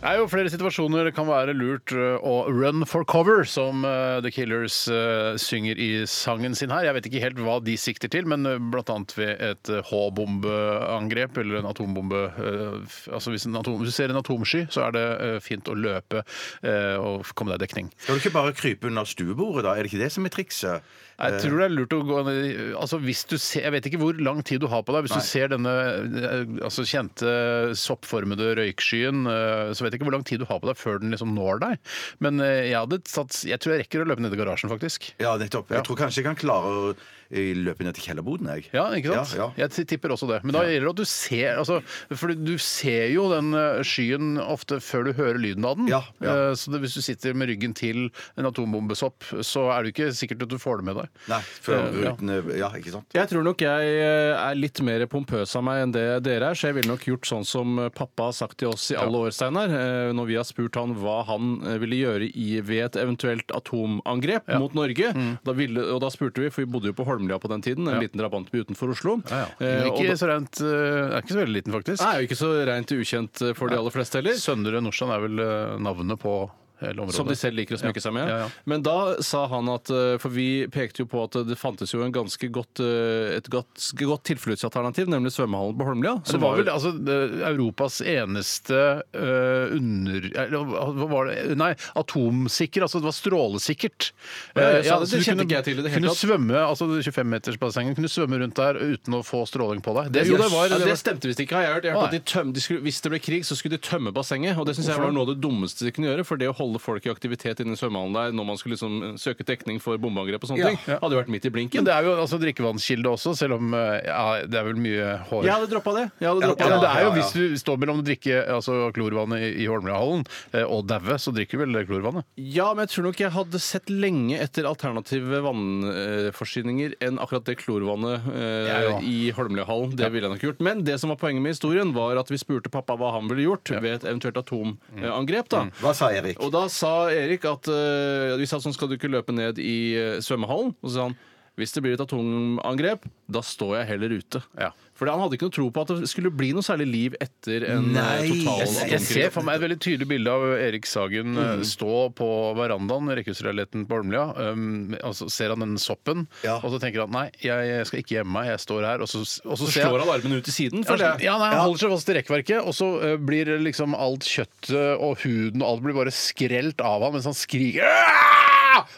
Det er jo flere situasjoner det kan være lurt ø, å run for cover, som ø, The Killers ø, synger i sangen sin her. Jeg vet ikke helt hva de sikter til, men ø, blant annet ved et ø, H-bombeangrep eller en atombombe ø, f- Altså hvis, en atom, hvis du ser en atomsky, så er det ø, fint å løpe ø, og komme deg dekning. Skal du ikke bare krype under stuebordet, da? Er det ikke det som er trikset? Eh. Jeg tror det er lurt å gå ned i- altså hvis du ser, Jeg vet ikke hvor lang tid du har på deg. Hvis du ser denne eh, altså kjente soppformede røykskyen, eh, så vet jeg ikke hvor lang tid du har på deg før den liksom når deg. Men eh, jeg, hadde tatt, jeg tror jeg rekker å løpe ned i garasjen, faktisk. Ja, nettopp. Jeg tror kanskje jeg kan klare å eh, løpe ned til kjellerboden, jeg. Ja, ikke sant? Ja, ja. Jeg t- tipper også det. Men da gjelder det at du ser altså, For du ser jo den eh, skyen ofte før du hører lyden av den. Ja, ja. Eh, Så det, hvis du sitter med ryggen til en atombombesopp, så er det jo ikke sikkert at du får det med deg. Nei, før Eh, ja. ruten eh, Ja, ikke sant? Jeg tror nok jeg eh, er litt mer pompøs av meg enn det dere er, så jeg ville nok gjort sånn som eh, pappa har sagt til oss i alle år, Steinar, eh, når vi har spurt han hva han eh, ville gjøre i, ved et eventuelt atomangrep mot Norge. Mm. Da ville, og da spurte vi, for vi bodde jo på Holmlia på den tiden, en liten drabantby utenfor Oslo. Ja, ja. Eh, Men og Ikke da- så rent eh, er ikke så veldig liten, faktisk. Nei, er jo ikke så rent ukjent eh, for de aller fleste heller. Søndre Nordstrand er vel eh, navnet på hele området. Som de selv liker å smykke seg med. Ja, ja. Men da sa han at eh, For vi pekte jo på at det fantes jo en ganske godt, eh, et godt, godt tilfluktsalternativ, nemlig svømmehallen på Holmlia. Så det som var vel altså, det- Europas eneste eh, under... eller, Hva var det? Nei, atomsikker. Altså det var strålesikkert. Ja, ja, Eh, det- så det du kjente kunne- ikke jeg til i det hele kunne tatt. svømme, altså 25-metersbassenget, kunne svømme rundt der uten å få stråling på deg. Det, jo, det var, ja, det det var stemte visst ikke, har jeg hørt. Jeg har hørt at Nei. de tøm, de skulle, hvis det ble krig, så skulle de tømme bassenget. Og det syns jeg var noe av det dummeste de kunne gjøre. For det å holde folk i aktivitet inne i svømmehallen der når man skulle liksom søke dekning for bombeangrep og sånne ting, hadde jo vært midt i men blinken. det er jo altså drikkevannskilde også, selv om eh, ja, det er vel mye hår Jeg hadde droppa det. Jeg hadde droppet Ja, men det det. er jo ja, ja. Hvis du står mellom å drikke altså, klorvannet i- i Holmlia-hallen eh, og daue, så drikker du vel klorvannet? Ja, men jeg tror nok jeg hadde sett lenge etter alternative vannforsyninger enn akkurat det klorvannet eh, Jeg òg. i Holmlia-hallen. Det ville jeg nok gjort. Men det som var poenget med historien, var at vi spurte pappa hva han ville gjort ved et eventuelt atomangrep. da. Mm. Hva sa Erik? Og da sa Erik at eh, Vi sa sånn, skal du ikke løpe ned i eh, svømmehallen? Og så sa han hvis det blir et atomangrep, da står jeg heller ute. Ja. For han hadde ikke noe tro på at det skulle bli noe særlig liv etter en eh, Nei, total jeg- Jeg atomkrig. ser for meg et veldig tydelig bilde av Erik Sagen eh, stå på verandaen i rekkehusleiligheten på Holmlia. Um, og så ser han den soppen, Ja. og så tenker han nei, jeg skal ikke gjemme meg, jeg står her. Og så, og så, Så ser jeg- slår han armene ut til siden. Ja, føler jeg. nei, Han holder seg fast i rekkverket, og så eh, blir det liksom alt kjøttet og huden og alt blir bare skrelt av han mens han skriker «Aah!»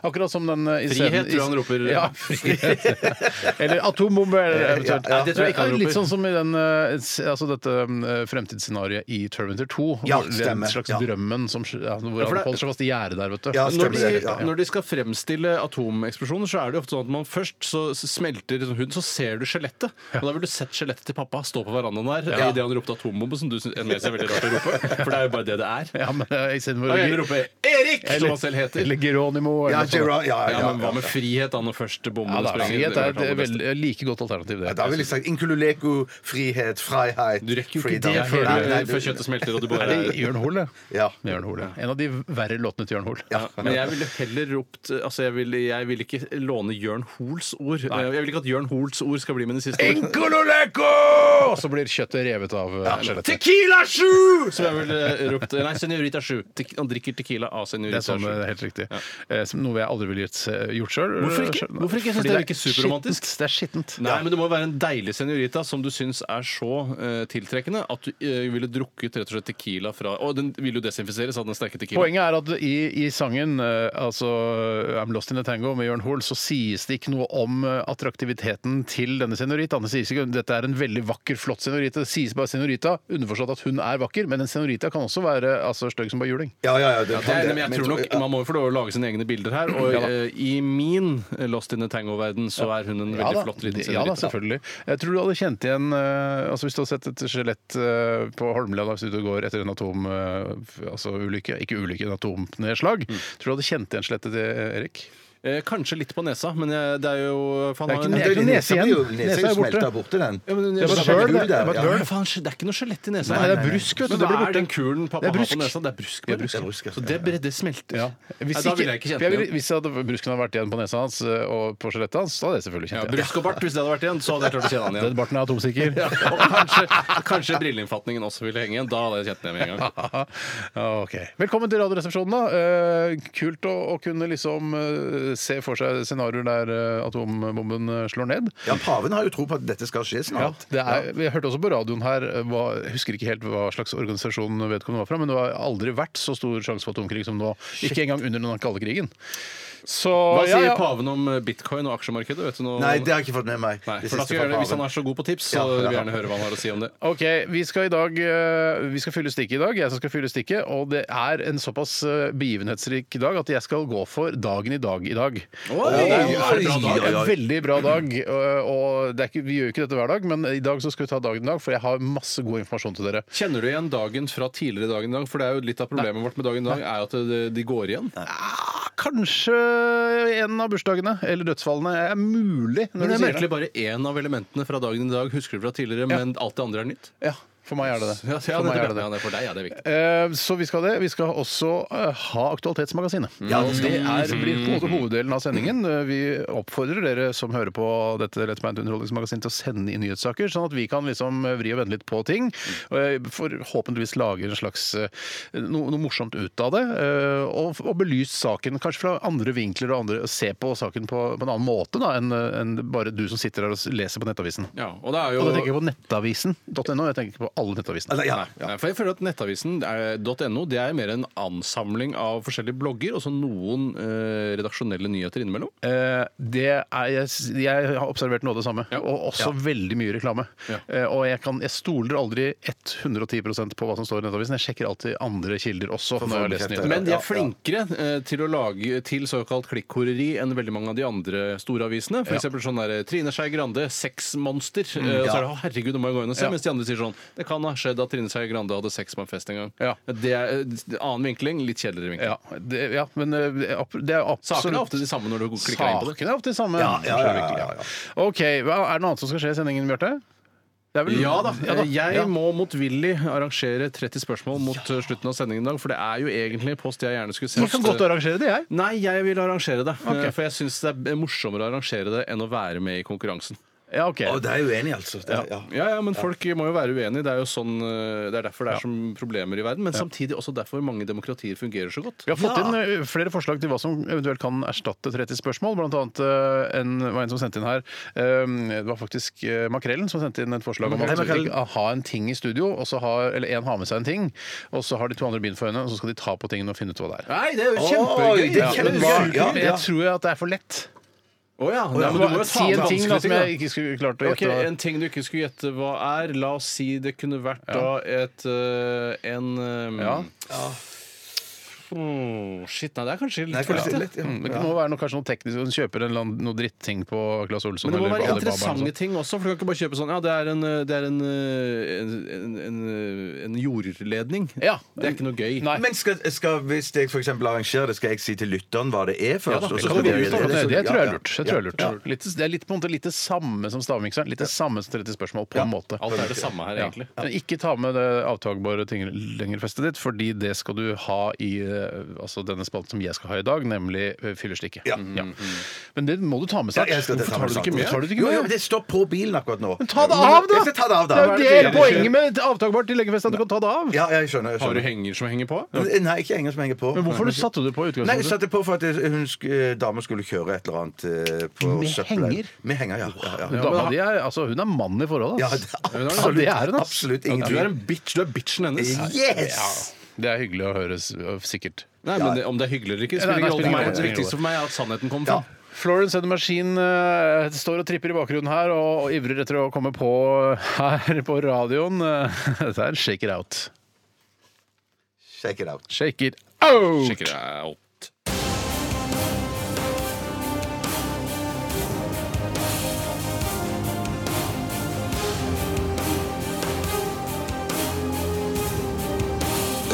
Akkurat som den eh, i Frihet, scenen- i- tror jeg han roper. Ja, frihet. eller atombombe, eller eventuelt. Ja, ja, det tror jeg ikke han roper. Litt sånn som i den, eh, s- altså dette eh, fremtidsscenarioet i Terminator 2. Ja, hvor det er stemmer, Den slags ja. drømmen som, ja, hvor for han det- holder seg fast i gjerdet der, vet du. Ja, Når stemmer de, det, ja. når de skal fremstille atomeksplosjoner, så er det jo ofte sånn at man først så smelter liksom huden, så ser du skjelettet. Og da ville du sett skjelettet til pappa stå på verandaen der i idet han ropte atombombe, som du syns jeg synes er veldig rart å rope. For det er jo bare det det er. Ja, men eh, i stedet for Da å kan jeg rope 'Erik!' som han selv heter. Eller Geronimo. Ja, Eller noe sånt. Gerard, ja, ja, Ja, men ja, hva med frihet da når først bombene ja, da, sprenger? frihet Det er vært et aller beste. veldig- like godt alternativ, det. Ja, da vil jeg sagt inkululeko, frihet, freiheit Du rekker jo ikke freedom. det før, Nei, nei, du- før kjøttet smelter og du bare Er det Jørn Hoel, det? Ja. Jørn Hoel, ja. En av de verre låtene til Jørn Hoel. Ja. Men jeg ville heller ropt Altså, jeg ville, jeg ville ikke låne Jørn Hoels ord. Jeg vil ikke at Jørn Hoels ord skal bli mine siste ord. Og så blir kjøttet revet av eh, skjelettet. Tequila 7! Som jeg ville eh, ropt. Nei, Senorita 7. Te- Han drikker Tequila av Det Senorita er sånn, eh, 7. helt riktig. Eh, som Noe jeg aldri ville gjort, eh, gjort sjøl. Hvorfor ikke? Selv. Hvorfor ikke? Jeg synes Fordi det virker superromantisk. skittent. Det er skittent. Nei, men det må være en deilig senorita som du syns er så eh, tiltrekkende at du eh, ville drukket rett og slett tequila fra Og den vil jo desinfiseres av den sterke tequila. Poenget er at i, i sangen eh, altså I'm Lost in a Tango med Jørn Hoel, så sies det ikke noe om eh, attraktiviteten til denne senorita. Det sies ikke dette er en veldig vakker, flott senorita. Det sies bare senorita, underforstått at hun er vakker, men en senorita kan også være altså, stygg som bare juling. Ja, ja, ja, det Det kan er, det. men jeg Men tror nok ja. Man må jo få lov å lage sine egne bilder her. Og Ja da. eh, i min eh, Lost in a Tango-verden så er hun en veldig flott liten Ja da, senorita. selvfølgelig. Jeg tror du hadde kjent igjen eh, altså Hvis du hadde sett et skjelett eh, på Holmlia da, hvis du går etter en atom... Mm. eh, f- altså ulykke, ikke ulykke, en atomnedslag. Tror du hadde kjent igjen skjelettet til Erik? Eh, kanskje litt på nesa, men jeg, det er jo faen, Det er ikke han- ned- jo nese igjen. blir jo- Nesa Nesa er er jo borte. smelta borte, den. Ja, men- Det var et Ja, høl, det det. er Det var et Ja. høl. Men faen, det er ikke noe skjelett i nesa. Nei, det er brusk, vet du. Men Det hva blir er borte. den kulen pappa Det er har på brusk. nesa? Det er brusk. Det er brusk. Det er brusk, ja. Så det, bre- det smelter. Ja. Hvis, Nei, da ville jeg ikke kjent jeg ville- igjen. hvis jeg hadde, brusken hadde vært igjen på nesa hans eh, og på skjelettet hans, så hadde jeg selvfølgelig Ja, kjent igjen. brusk og bart, hvis det hadde vært igjen, så hadde jeg klart å kjenne han Den igjen. barten er atomsikker. Ja, og kanskje, kanskje brilleinfatningen også ville henge igjen. Da hadde jeg kjent den igjen med en gang. Ja, ok. Velkommen til Radioresepsjonen. da. Eh, Kult å, å kunne liksom eh, se for seg scenarioer der eh, atombomben eh, slår ned. Ja, Paven har jo tro på at dette skal skje Ja, snart. det er, vi hørte også på radioen her eh, hva, Jeg husker ikke helt hva slags organisasjon vedkommende var fra, men det har aldri vært så stor sjanse for atomkrig som nå. Ikke engang under den kalde krigen. Så Hva ja, sier ja. paven om eh, bitcoin og aksjemarkedet? Vet du noe? Nei, om- det har jeg ikke fått med meg. Nei, Det for siste da skal jeg fra gjøre det. Hvis paven. han er så god på tips, så Ja, ja. vil jeg gjerne høre hva han har å si om det. Ok, vi skal i dag eh, Vi skal fylle stikket i dag. Jeg som skal fylle stikket. Og det er en såpass eh, begivenhetsrik dag at jeg skal gå for dagen i dag i dag. Oi, det oi, er en bra dag. oi, oi. En veldig bra dag. Og og det er ikke, vi gjør jo ikke dette hver dag, men i dag så skal vi ta dagen i dag, for jeg har masse god informasjon til dere. Kjenner du igjen dagen fra tidligere dagen i dag? For det er jo litt av problemet vårt med dagen i dag, er jo at det- de går igjen. Ah, Kanskje en av bursdagene eller dødsfallene er mulig. Men Når det du er sier merkelig det. bare én av elementene fra dagen i dag husker du fra tidligere, men alt det andre er nytt. Ja, for meg er det det. Ja, ja, For meg er det nettopp. det. Ja, det er for deg, ja, det er viktig. Eh, Så vi skal det. Vi skal også eh, ha Aktualitetsmagasinet. det, er, blir på en måte hoveddelen av sendingen. Eh, Vi oppfordrer dere som hører på dette Let's Mind Underholdningsmagasin til å sende inn nyhetssaker, sånn at vi kan liksom eh, vri og vende litt på ting. Og eh, forhåpentligvis lage en slags eh, no, noe morsomt ut av det. eh, Og, og belyst saken kanskje fra andre vinkler og andre, og se på saken på, på en annen måte da, enn enn bare du som sitter der og s- leser på Nettavisen. Ja, og det er Og da tenker jo jeg på nettavisen.no. Jeg tenker ikke på alle nettavisene. Eller, ja, ja. Nei, for jeg føler at Nettavisen eh, .no det er mer en ansamling av forskjellige blogger og så noen eh, redaksjonelle nyheter innimellom. Eh, det er, jeg, jeg har observert noe av det samme, Ja. og også veldig mye reklame. Ja. Eh, og jeg, kan, jeg stoler aldri 110 på hva som står i Nettavisen. Jeg sjekker alltid andre kilder også. For å når jeg få leser bekreftet. nyheter. Men de Ja, er flinkere eh, til å lage til såkalt klikkhoreri enn veldig mange av de andre store avisene. For eksempel sånn der, Trine Skei Grande, sexmonster. Mm, Og så er det «Å, 'herregud, nå må jeg gå inn og se', Ja. mens de andre sier sånn 'det kan ha skjedd at Trine Skei Grande hadde sex på en fest en gang'. Ja. Det er eh, annen vinkling, litt kjedeligere vinkling. Ja, det, ja, men eh, det er opp- det er absolutt Sakene er ofte de samme når du klikker deg inn på det. Sakene er ofte de samme. Ja, ja, ja, ja, ja. OK. hva- Er det noe annet som skal skje i sendingen, Bjarte? Det er vel- Ja da. Eh, Jeg Ja. må motvillig arrangere 30 spørsmål mot eh, slutten av sendingen i dag, for det er jo egentlig post jeg gjerne skulle sett. eh, Jeg kan godt arrangere det, jeg. Nei, jeg vil arrangere det. eh, For jeg syns det er morsommere å arrangere det enn å være med i konkurransen. Ja, ok. Å, det er jeg uenig, i, altså. Det, er- ja. Ja, ja, men folk må jo være uenige. Det er jo sånn, eh, det er derfor det er som problemer i verden. Men samtidig også derfor mange demokratier fungerer så godt. Vi har fått inn eh, flere forslag til hva som eventuelt kan erstatte 30 spørsmål. Blant annet eh, en, det var en som sendte inn her eh, Det var faktisk eh, Makrellen som sendte inn et forslag om Hei, at Makrellen. eh, ha en ting i studio, og så ha, eller en har med seg en ting, og så har de to andre bind for øynene, og så skal de ta på tingen og finne ut hva det er. Nei, det er jo Oi, det er Ja, men kjempegøy. hva- Men Ja, ja. Jeg tror jo at det er for lett. Å ja, ja, men du må jo ta Si en med ting da, vanskelige som ting, da. jeg ikke skulle klart å Ok, gjette. hva er. En ting du ikke skulle gjette hva er. La oss si det kunne vært da et eh, en eh, Ja. Hmm, shit, nei, det er kanskje litt Nei, for kanskje lite. litt, ja. Mm, Men Det må være noe, kanskje noe teknisk. Hun kjøper en eller annen, noe dritting på Claes Olsson. Men det må eller på være Alibaba altså. eller noe interessante ting også, for du kan ikke bare kjøpe sånn Ja, det er en, det er en, en, en, en, en jordledning. Ja. Det er ikke noe gøy. Nei. Men skal, skal, hvis jeg for eksempel arrangerer det, skal jeg si til lytteren hva det er først? da, og det så skal kan du vi- gjøre. Ja, Det, det tror jeg er lurt. Ja, Det, tror jeg er ja. lurt. Litt, det er litt, på en måte litt det samme som stavmikseren. Litt det samme som 30 spørsmål, på en måte. Alt er det samme her, Ja. egentlig. Men ikke ta med det avtagbare ting lenger festet ditt, fordi det skal du ha i eh, altså denne spalten som jeg skal ha i dag, nemlig eh, fyllestikket. Ja. Men det må du ta med Ja, snart. jeg skal ta Hvorfor tar du det ikke med? Tar du det ikke Jo, jo, med? men det står på bilen akkurat nå. Men Ta det av, da! Jeg skal ta det av, da. Det er jo det Ja, poenget med et avtagbart til legefest, at du kan ta det av. Ja, jeg skjønner. Jeg Har du skjønner. henger som henger på? Nei, ikke henger som henger på. Men hvorfor satte du det på i Nei, jeg utgangspunktet? satte på for at jeg- hun sk- eh, dama skulle kjøre et eller annet eh, på Med søpla. henger? Med henger, ja. ja, ja. Dama di er, altså, hun er mann i forholdet, ja ass. det er Ja, det er hun, ass. absolutt Ja, du ingen er tvil. en bitch. Du er bitchen hennes. Yes! Det er hyggelig å høres, sikkert. Nei, men det, Om det er hyggelig eller ikke, Nei, spiller nei, ingen rolle. spiller for meg. ingen Det rolle. viktigste for meg er at sannheten kommer fram. Florence and the Machine eh, står og tripper i bakgrunnen her og, og ivrer etter å komme på eh, her på radioen. Dette er Shake It Out. Check it out. Shake It Out! Sjekker jeg opp.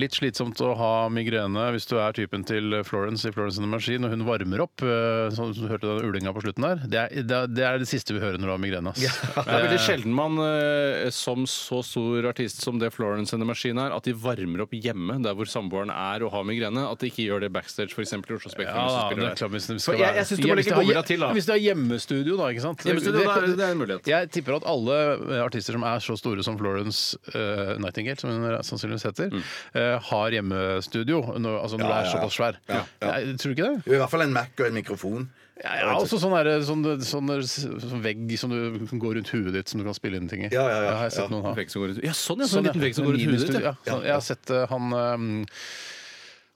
Litt slitsomt å ha migrene hvis du er typen til Florence i Florence and the Machine, og hun varmer opp. eh, Sånn som du hørte den ulinga på slutten der. Det er det, er- det er det siste vi hører når du har migrene. ass. Det er veldig sjelden man eh, som så stor artist som det Florence and the Machine er, at de varmer opp hjemme der hvor samboeren er og har migrene. At de ikke gjør det backstage, f.eks. i Oslo Spektrum. Ja, hvis da, de det er klart hvis spiller der. det skal For jeg- være- jeg synes du må hvis legge har- bobbera til, da. Hvis du har hjemmestudio, da. ikke sant? Hjemmestudio, Det- da er- det er en mulighet. Jeg tipper at alle eh, artister som er så store som Florence eh, Nightingale, som hun sannsynligvis heter, Mm. eh, har hjemmestudio når, altså når du er såpass svær. Nei, tror du ikke det? I hvert fall en Mac og en mikrofon. Ja, ja, også sånn, der, sånn, sånn, der- sånn vegg som du kan gå rundt huet ditt som du kan spille inn ting i. Ja, ja, ja. Det har jeg sett Ja. noen ha. Vegg som går ut. Ja, sånn, ja! Sånn, en liten vegg som en går ut huet ditt. ministudio, ja. ja. Sånn, Jeg har sett eh, han eh,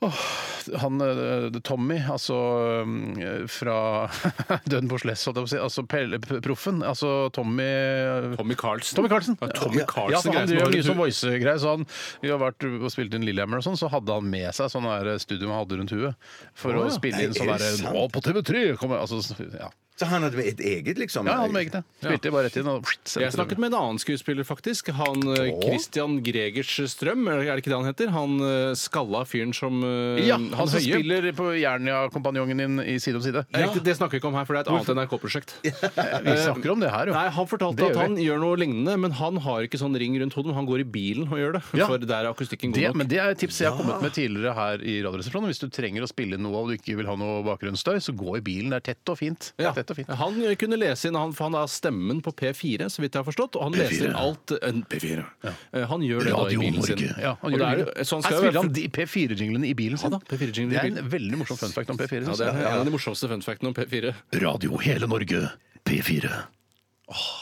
åh, han eh, Tommy, altså eh, fra Døden på Sless, holdt jeg på å si. Altså Pelle- p- proffen. Altså Tommy eh, Tommy Carlsen. Tommy Carlsen. Ja, Tommy Carlsen, ja, for greier han som driver har mye et sånn hu- voice-greier. Så han vi har vært og spilt inn Lillehammer og sånn, så hadde han med seg sånn der studio han hadde rundt huet. For å spille inn Nei, sånn er det derre sant? Nå på TV3! Kommer, altså, ja. Så han hadde et eget, liksom? ja, han med eget det. Spilte bare rett inn og Jeg snakket med en annen skuespiller, faktisk. Han eh, Christian Gregers Strøm, er det ikke det han heter? Han eh, skalla fyren som eh, Ja, han som høye. spiller på Jernia-kompanjongen din i Side om side. Det er Riktig, det snakker vi ikke om her, for det er et annet NRK-prosjekt. Vi snakker om det her, jo. Eh, Nei, Han fortalte Det at gjør han gjør noe lignende, men han har ikke sånn ring rundt hodet. Men han går i bilen og gjør det, Ja. for der er akustikken god Det, nok. men det er et tips jeg har kommet med tidligere her i Radioresepsjonen. Hvis du trenger å spille inn noe og du ikke vil ha noe bakgrunnsstøy, så gå i bilen. Det er tett og fint. Det Ja. er tett og fint. Han kunne lese inn, han, for han har stemmen på P4, så vidt jeg har forstått. Og han leser inn alt eh, en, P4. Eh, Han gjør det da i bilen sin. Ja, han gjør Og det. i det er- bilen. sånn Her skal det spiller være. han de P4-jinglene i bilen sin. Ja da, P4-jinglene i det er bilen. en veldig morsom fun fact om P4. Ja, synes det er jeg. en av de morsomste fun factene om P4. Radio hele Norge, P4.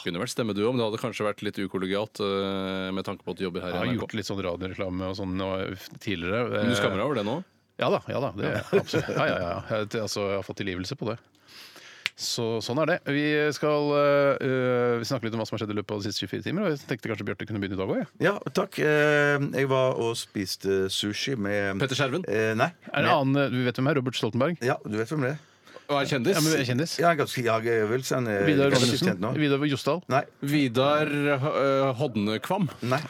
Kunne vært stemmeduo, men det hadde kanskje vært litt ukollegialt eh, med tanke på at du jobber her Jeg har i gjort NRK. litt eh, sånn radioreklame og sånn og tidligere. Men du skammer deg over det nå? Ja da. ja da, det gjør jeg absolutt. Ja, ja, ja. Jeg, altså, jeg har fått tilgivelse på det. Så, sånn er det. Vi skal øh, vi snakke litt om hva som har skjedd i løpet av de siste 24 timer. Og jeg tenkte kanskje Bjarte kunne begynne i dag òg. Ja, takk. Eh, Jeg var og spiste sushi med Petter Skjerven? Eh, Nei. Er det en annen, Vi vet hvem er. Robert Stoltenberg. Ja, du vet hvem det er? Og er kjendis? Ja, men er Kjendis. Ja, ganske jeg vil si han er Vidar ganske Robinsen. kjent nå. Vidar Jostal. Nei. Vidar eh, Hodnekvam. Nei.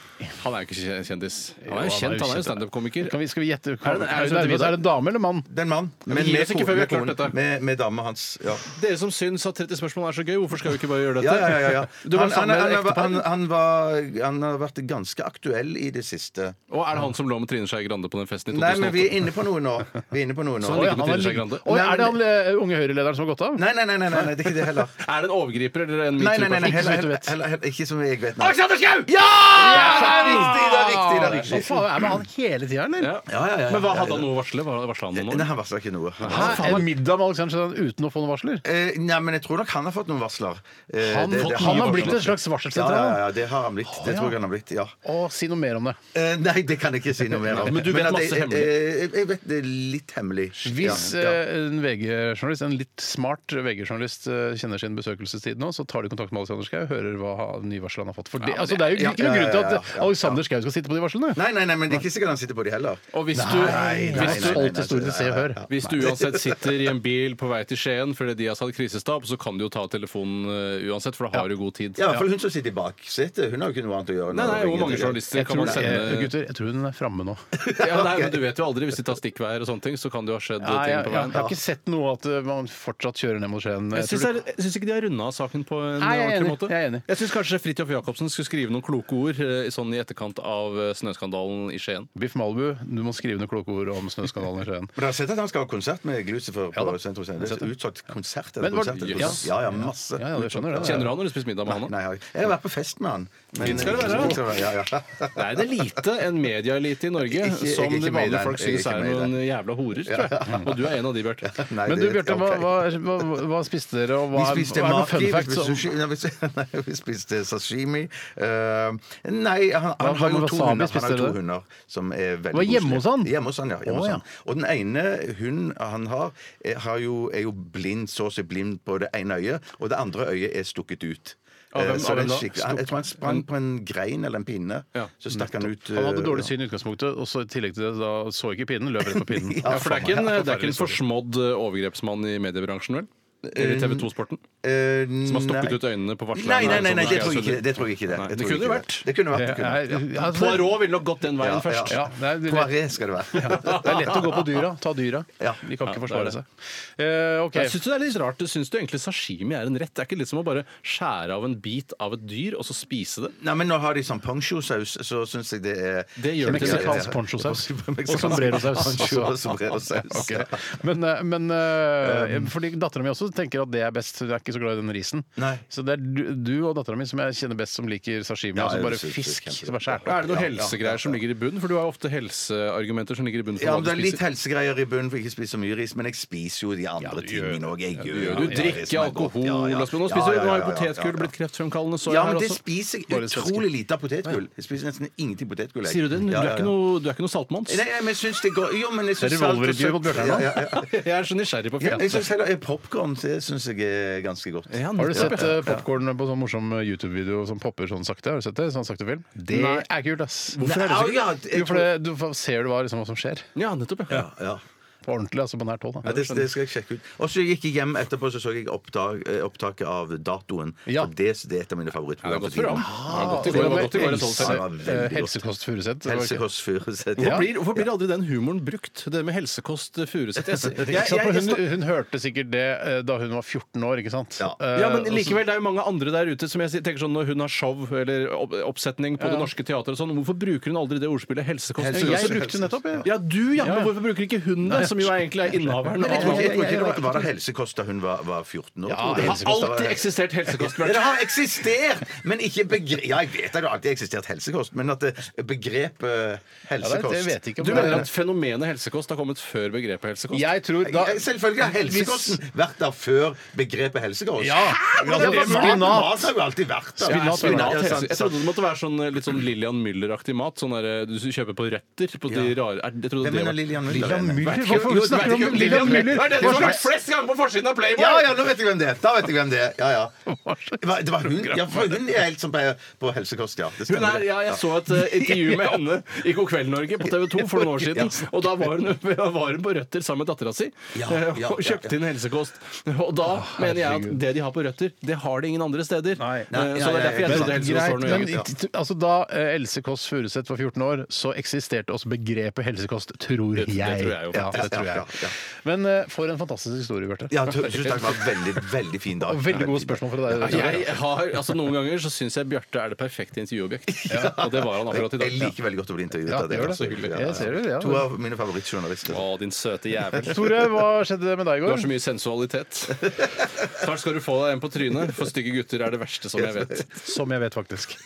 Han er jo ikke kjendis. Han er jo kjent, han er jo standup-komiker. Kan vi, skal vi gjette? Er Er det- det, er det- er det en dame eller mann? Det er en mann. vi gir oss ikke ko- før vi har klart kone- dette. Med, med dama hans. Ja. Dere som syns at 30 spørsmål er så gøy, hvorfor skal vi ikke bare gjøre Ja, dette? ja, ja, ja, ja. Du var Han, han, sammen med han, et han, ektepar. han, han, var, han har vært ganske aktuell i det siste. Og er det han som lå med Trine Skei Grande på den festen i 2008? Nei, men vi er inne på noe nå. Vi er inne på noe nå. Så Å, ja, han ligger med han er, Trine Skei ligg- Grande. Å, Nei, er det han eh, unge Høyre-lederen som har gått av? Nei, nei, nei, nei, nei, nei, det er ikke det heller. Er det en overgriper eller en Nei, nei, nei, nei, metoo-person? heller, du heller, vet. heller, heller, ikke som jeg vet. Nei. Alexander Schou! Ja, det er riktig! det er riktig, det er Hva riktig. faen, er det med han hele tida, eller? Ja. Ja, ja, ja, ja, Men hva ja, hadde ja. han noe å varsle? Hva varsla han om Nei, nå? han varsla ikke noe. Hæ? En middag med Alexander Sjødal uten å få noen varsler? Eh, nei, men jeg tror nok han har fått noen varsler. Eh, Han, det- det han har varsler. blitt et slags ja, varselsentral. ja, ja, det har han blitt. Det tror jeg han har blitt, ja. Og si noe mer om det. Eh, nei, det kan jeg ikke si noe mer om. Men du vet at masse jeg- hemmelig. eh, Jeg, jeg vet det er litt hemmelig. Hvis Ja, ja. eh, en VG-journalist, en litt smart VG-journalist eh, kjenner sin besøkelsestid nå, så tar de kontakt med Alexander Schou og hører hva ha- nyvarselet han har fått. For det, altså, det er jo ja, ikke noen ja, grunn til ja, at ja, eh, ja. Alexander Schou skal sitte på de varslene. Nei, nei, nei, men det er ikke sikkert han sitter på de heller. Og hvis du, hvis du nei, nei. Alt historien til Se og Hør. Hvis du uansett sitter i en bil på vei til Skien fordi de har satt krisestab, så kan du jo ta telefonen eh, uansett, for da har du god tid. Ja, i hvert fall hun som sitter i baksetet. Hun har jo ikke noe annet å gjøre. enn Nei, å nei, ringe Hvor mange til- journalister Jeg kan tror, man jeg, sende? gutter, jeg tror hun er framme nå. Ja, nei, men Du vet jo aldri hvis de tar stikkveier og sånne ting. Så kan det jo ha skjedd Nei, jeg, ting jeg, på jeg veien. har ikke sett noe at eh, man fortsatt kjører ned mot Skien. Jeg Jeg syns, tror det- det er- jeg syns ikke de har runda saken på en Nei, jeg er ordentlig enig. måte. Jeg er enig. syns kanskje Fridtjof Jacobsen skulle skrive noen kloke ord eh, sånn i etterkant av eh, snøskandalen i Skien. Biff Malibu, du må skrive ned kloke ord om snøskandalen i Skien. Men dere har sett at han skal ha konsert med Glucifer Ja da. på Sentrum Scene? Det er utsolgt konsert etter Men var det- konsert. etter konsert. Yes. Ja, ja, masse. Ja, ja, du skjønner det. Kjenner du han når du spiser middag med han? da? Nei, jeg har ikke- jeg har vært på fest med han. men- Fint skal det være, da. Fint skal det være, ja, ja. Nei, det er lite en medieelite i Norge Jeg er ikke- jeg er som ikke de med i vanlige den. folk Jeg er syns ikke er med i noen jævla horer, tror jeg. Og du er en av de, Bjarte. Nei, Men du, det- Bjarte, hva, ok. hva, hva, hva spiste dere, og hva, Vi er- spiste hva er noen maki, fun vi facts? spiste, om- sushi, nei, vi spiste, nei, vi spiste sashimi. Eh, nei, han, han Hva- har hva jo med to wasabi? hunder. Han Spiste har dere to det? hunder som er veldig Var hjemme koselige. hos han? Hjemme hos han, ja. Hjemme Å, hos ja. han. Og den ene hunden han har, er, har jo, er jo blind, så å si blind på det ene øyet, og det andre øyet er stukket ut. Av hvem- Eh, så av hvem det er da? skikkelig- han, jeg tror han sprang på en grein eller en pinne, Ja, så stakk han ut. Han hadde eh, dårlig ja. syn i utgangspunktet, og så i tillegg til det da så ikke pinnen, løp rett på pinnen. sånn. Ja, for det er ikke en, det er ikke en forsmådd eh, overgrepsmann i mediebransjen, vel? Eller TV 2-sporten? Som har stukket ut øynene på sånn. eh, varsleren? Nei, sånn nei, nei, nei, som det er tror jeg ikke. sønner. Det tror jeg ikke det. Jeg Nei, det tror kunne ikke vært. Det Det kunne vært. Det kunne vært. er, ja, altså, Poirot ville nok gått den veien Ja, først. ja, det er, det Poiré skal det være. er lett å gå på dyra. Ta dyra. Ja. De kan ikke Ja, forsvare det er seg. Eh, ok. Jeg syns det er litt rart. Syns du egentlig sashimi er en rett? Det er ikke litt som å bare skjære av en bit av et dyr og så spise det? Nei, men nå har de sånn poncho-saus, så syns jeg det er Det gjør det til Meksikansk ponchosaus og sombrerosaus. Poncho og sombrerosaus. Um. Ok. Men, eh, men eh, fordi dattera mi også tenker at det er best. Hun er ikke så glad i den risen. Nei. Så det er du, du og dattera mi som jeg kjenner best, som liker sashimi. Ja, altså jeg bare synes det er fisk kjempebra. som er skåret Er det noen Ja, ja, helsegreier som ligger i bunnen? For du har jo ofte helseargumenter som ligger i bunnen. for Ja, hva men du Det er litt spiser. helsegreier i bunnen for ikke å spise så mye ris, men jeg spiser jo de andre du gjør tingene òg. Jeg gjør Du det. Det drikker som er godt. alkohol Ja, ja. Asbjørn. Nå Ja, ja, spiser du nå har jo ja, ja, potetgull ja, blitt kreftfremkallende. Så Ja, her men det også. spiser Bare jeg svenske. utrolig lite av potetgull. Jeg spiser nesten ingenting potetgull. jeg. Sier du det? Du Ja, er ja, ja. ikke noe, du er ikke noe saltmanns? Nei, nei, men jeg syns det går Jo, men jeg Det syns er revolverdriv mot Bjørnar nå. Ja, ja, ja. Jeg er så nysgjerrig på Ja, Jeg fete. syns heller eh, popcorn, det syns jeg er ganske godt. Ja, Har du nettopp, sett ja. uh, popkorn på sånn morsom YouTube-video som popper sånn sakte? Har du sett det? Sånn sakte film? Det Nei. er kult, ass. Hvorfor er det så kult? Nei, ja, Jo, for det, du får- ser du hva, liksom, hva som skjer. Ja, nettopp, ja. Ja. På ordentlig, altså på nært hold. Ja, Da. det, det skal jeg sjekke ut. Og så gikk jeg hjem etterpå så så jeg opptak, eh, opptaket av datoen. Ja. For det, det er et av mine favorittprogram. godt for tiden. program. Ja, Altså, godt i går, det var godt i går, det Else- Helse- Ja, det var eh, veldig godt. Helsekost Furuseth. det var ikke- Helsekost Furuseth. Hvorfor blir, hvorfor blir aldri den humoren brukt? Det med helsekost Furuseth? Ikke Jeg- jeg- sant? jeg- For jeg- Hun, hun hørte sikkert det eh, da hun var 14 år, ikke sant? Ja. Eh, Ja, men og så- likevel, det er jo mange andre der ute som jeg sier- tenker sånn når hun har show eller opp- oppsetning på Det Norske Teatret og sånn, hvorfor bruker hun aldri det ordspillet helsekost? Jeg Helse- Furuseth? brukte den nettopp, jeg. Ja, du, ja. Men hvorfor bruker ikke hun det, som jo er egentlig er innehaveren? Jeg tror av- ikke, jeg tror ikke det var, var det helsekost da hun var, var 14 år. Ja, tror jeg. Det har Helsekost da var- alltid eksistert Ja, helsekost. Bjørn. Det har eksistert, men ikke begrep Ja, jeg vet at det har alltid eksistert helsekost, men at det- begrepet eh, Ja, det, helsekost det vet jeg ikke om Du det er- mener at fenomenet helsekost har kommet før begrepet helsekost? Jeg tror da Ja, Selvfølgelig har helsekosten vært der før begrepet helsekost. Ja, Hæ? altså, Men det er mat- spinat. Mat har jo alltid vært der. Spinat, spinat, ja, Mat, helse- sant, Jeg trodde det måtte være sånn eh, litt sånn Lillian Müller-aktig mat. Sånn der, eh, du kjøper på røtter på de Ja. rare er- Jeg trodde Hvem det er var Lillian Müller? Lillian Müller? Vet ikke- Hvorfor jo, snakker du vet om ikke- Lillian Müller? Hva er det Hva som har vært slags- flest ganger på forsiden av Playboy? Ja, ja, nå vet jeg hvem det er. Da vet jeg hvem det er. Ja, ja. Hva- Det var hun, ja, for hun er helt som på, på helsekost, ja. Det Hun stemmer. er, ja, jeg så et eh, intervju med henne i God kveld, Norge på TV 2 for noen år siden. Og da var hun, var hun på Røtter sammen med dattera si Ja, eh, ja, og ja, kjøpte inn helsekost. Og da mener jeg at det de har på Røtter, det har de ingen andre steder. Nei. Eh, Nei, Så det er nei, derfor jeg nei, trodde helsekost Greit, var noe men eget. ja. t- altså da eh, Else Kåss Furuseth var 14 år, så eksisterte også begrepet helsekost, tror jeg. det tror jeg jo ja, det tror Ja, jeg. ja, Men eh, for en fantastisk historie, Bjarte. Ja, tu- tusen takk. Det var en veldig, veldig fin dag. Og veldig gode spørsmål fra deg. Tore. Jeg har, altså Noen ganger så syns jeg Bjarte er det perfekte intervjuobjekt. Og det var han akkurat i Jeg dag. liker veldig godt å bli intervjuet Ja, av dere. gjør det. altså. Ja, ja, Jeg ser det, ja. To av mine favorittjournalister. Å, din søte jævel. Tore, hva skjedde med deg i Du har går? så mye sensualitet. Snart skal du få deg en på trynet, for stygge gutter er det verste som jeg vet. Som jeg vet, faktisk.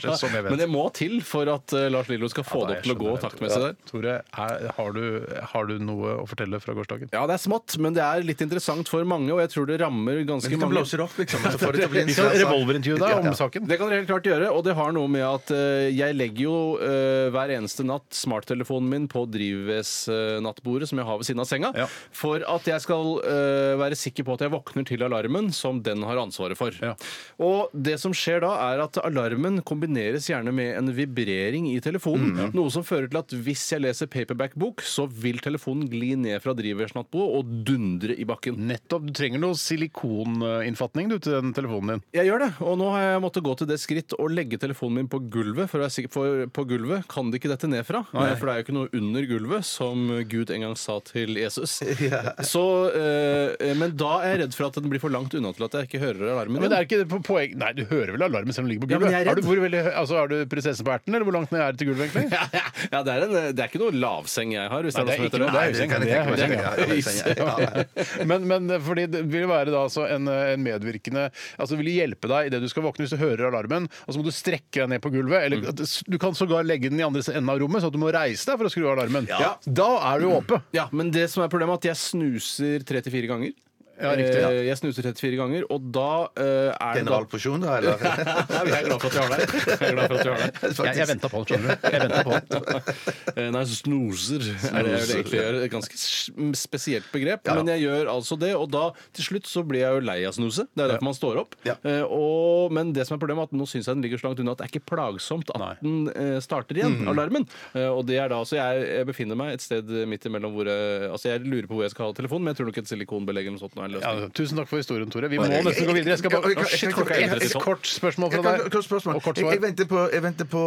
Som sånn jeg Men vet. det må til for at eh, Lars Lillo skal få det opp til å gå taktmessig der. Tore, er, har, du, har du noe å fortelle fra gårsdagen? Ja, det er smått, men det er litt interessant for mange, og jeg tror det rammer Men ganske vi kan mange. blåse det opp, liksom. Så får det til å bli en Vi skal svær sak. revolverintervjue Ja, deg ja. om saken. Det kan dere helt klart gjøre, og det har noe med at eh, jeg legger jo eh, hver eneste natt smarttelefonen min på drivvesnattbordet som jeg har ved siden av senga, Ja. for at jeg skal eh, være sikker på at jeg våkner til alarmen som den har ansvaret for. Ja. Og det som skjer da, er at alarmen kombineres gjerne med en vibrering i telefonen, Mm, noe som fører til at hvis jeg leser paperback-bok, så vil telefonen gli ned fra drivvesnattbordet og dundre i bakken. Nettopp. Du trenger noe silikoninnfatning du, til den telefonen din. Jeg gjør det, og nå har jeg måttet gå til det skritt å legge telefonen min på gulvet. For, å være sikker, for på gulvet kan det ikke dette ned fra. For det er jo ikke noe under gulvet, som Gud en gang sa til Jesus. Så, eh, men da er jeg redd for at den blir for langt unna til at jeg ikke hører alarmen. Men igjen. det er ikke på poeng Nei, du hører vel alarmen selv om du ligger på Ja, gulvet? men jeg er er, redd. du, hvor veldig, hø- altså, er du prinsessen på erten, eller hvor langt ned er det til gulvet, egentlig? ja, det, er en, det er ikke noe lavseng jeg har, hvis Nei, det er noe som heter det. noe- det kan jeg Det er høyseng, tenke meg. Ja, ja, høyseng, ja. Ja, ja. men, men eh, fordi det vil være da altså en, eh, en medvirkende Altså det vil hjelpe deg idet du skal våkne hvis du hører alarmen, og så må du strekke deg ned på gulvet. Mm. Eller at s- du kan sågar legge den i andre enden av rommet, så at du må reise deg for å skru av alarmen. Ja. Da er du oppe. Ja, men det som er problemet er at jeg snuser 3-4 ganger. Ja, riktig, ja. Eh, Jeg snuser 3-4 ganger, og da eh, er det da Generalporsjon, da, eller? Nei, Jeg er glad for at jeg har deg. Jeg er glad for at jeg har deg. Jeg, jeg venta på den, skjønner du. Jeg ventet på den. Eh, Nei, snoser er det jeg vil egentlig gjøre. Et ganske s- m- spesielt begrep. Men jeg gjør altså det, og da til slutt så blir jeg jo lei av snuse. Det er derfor man står opp. Ja. Eh, og, men det som er problemet er at nå syns jeg den ligger så langt unna at det er ikke plagsomt at den eh, starter igjen, alarmen. Eh, og det er da, så jeg, jeg befinner meg et sted midt imellom hvor jeg Altså jeg lurer på hvor jeg skal ha telefonen, men jeg tror nok et silikonbelegg eller noe sånt nå en Ja, løsning. tusen takk for historien, Tore. Vi må nesten gå videre. Jeg skal bare, Jeg- jeg- Å, jeg- shit, klokka er jeg- jeg- endret. Et kort spørsmål Jeg fra kan- deg. kort spørsmål. Og kort Jeg, jeg, svar. venter på, jeg venter på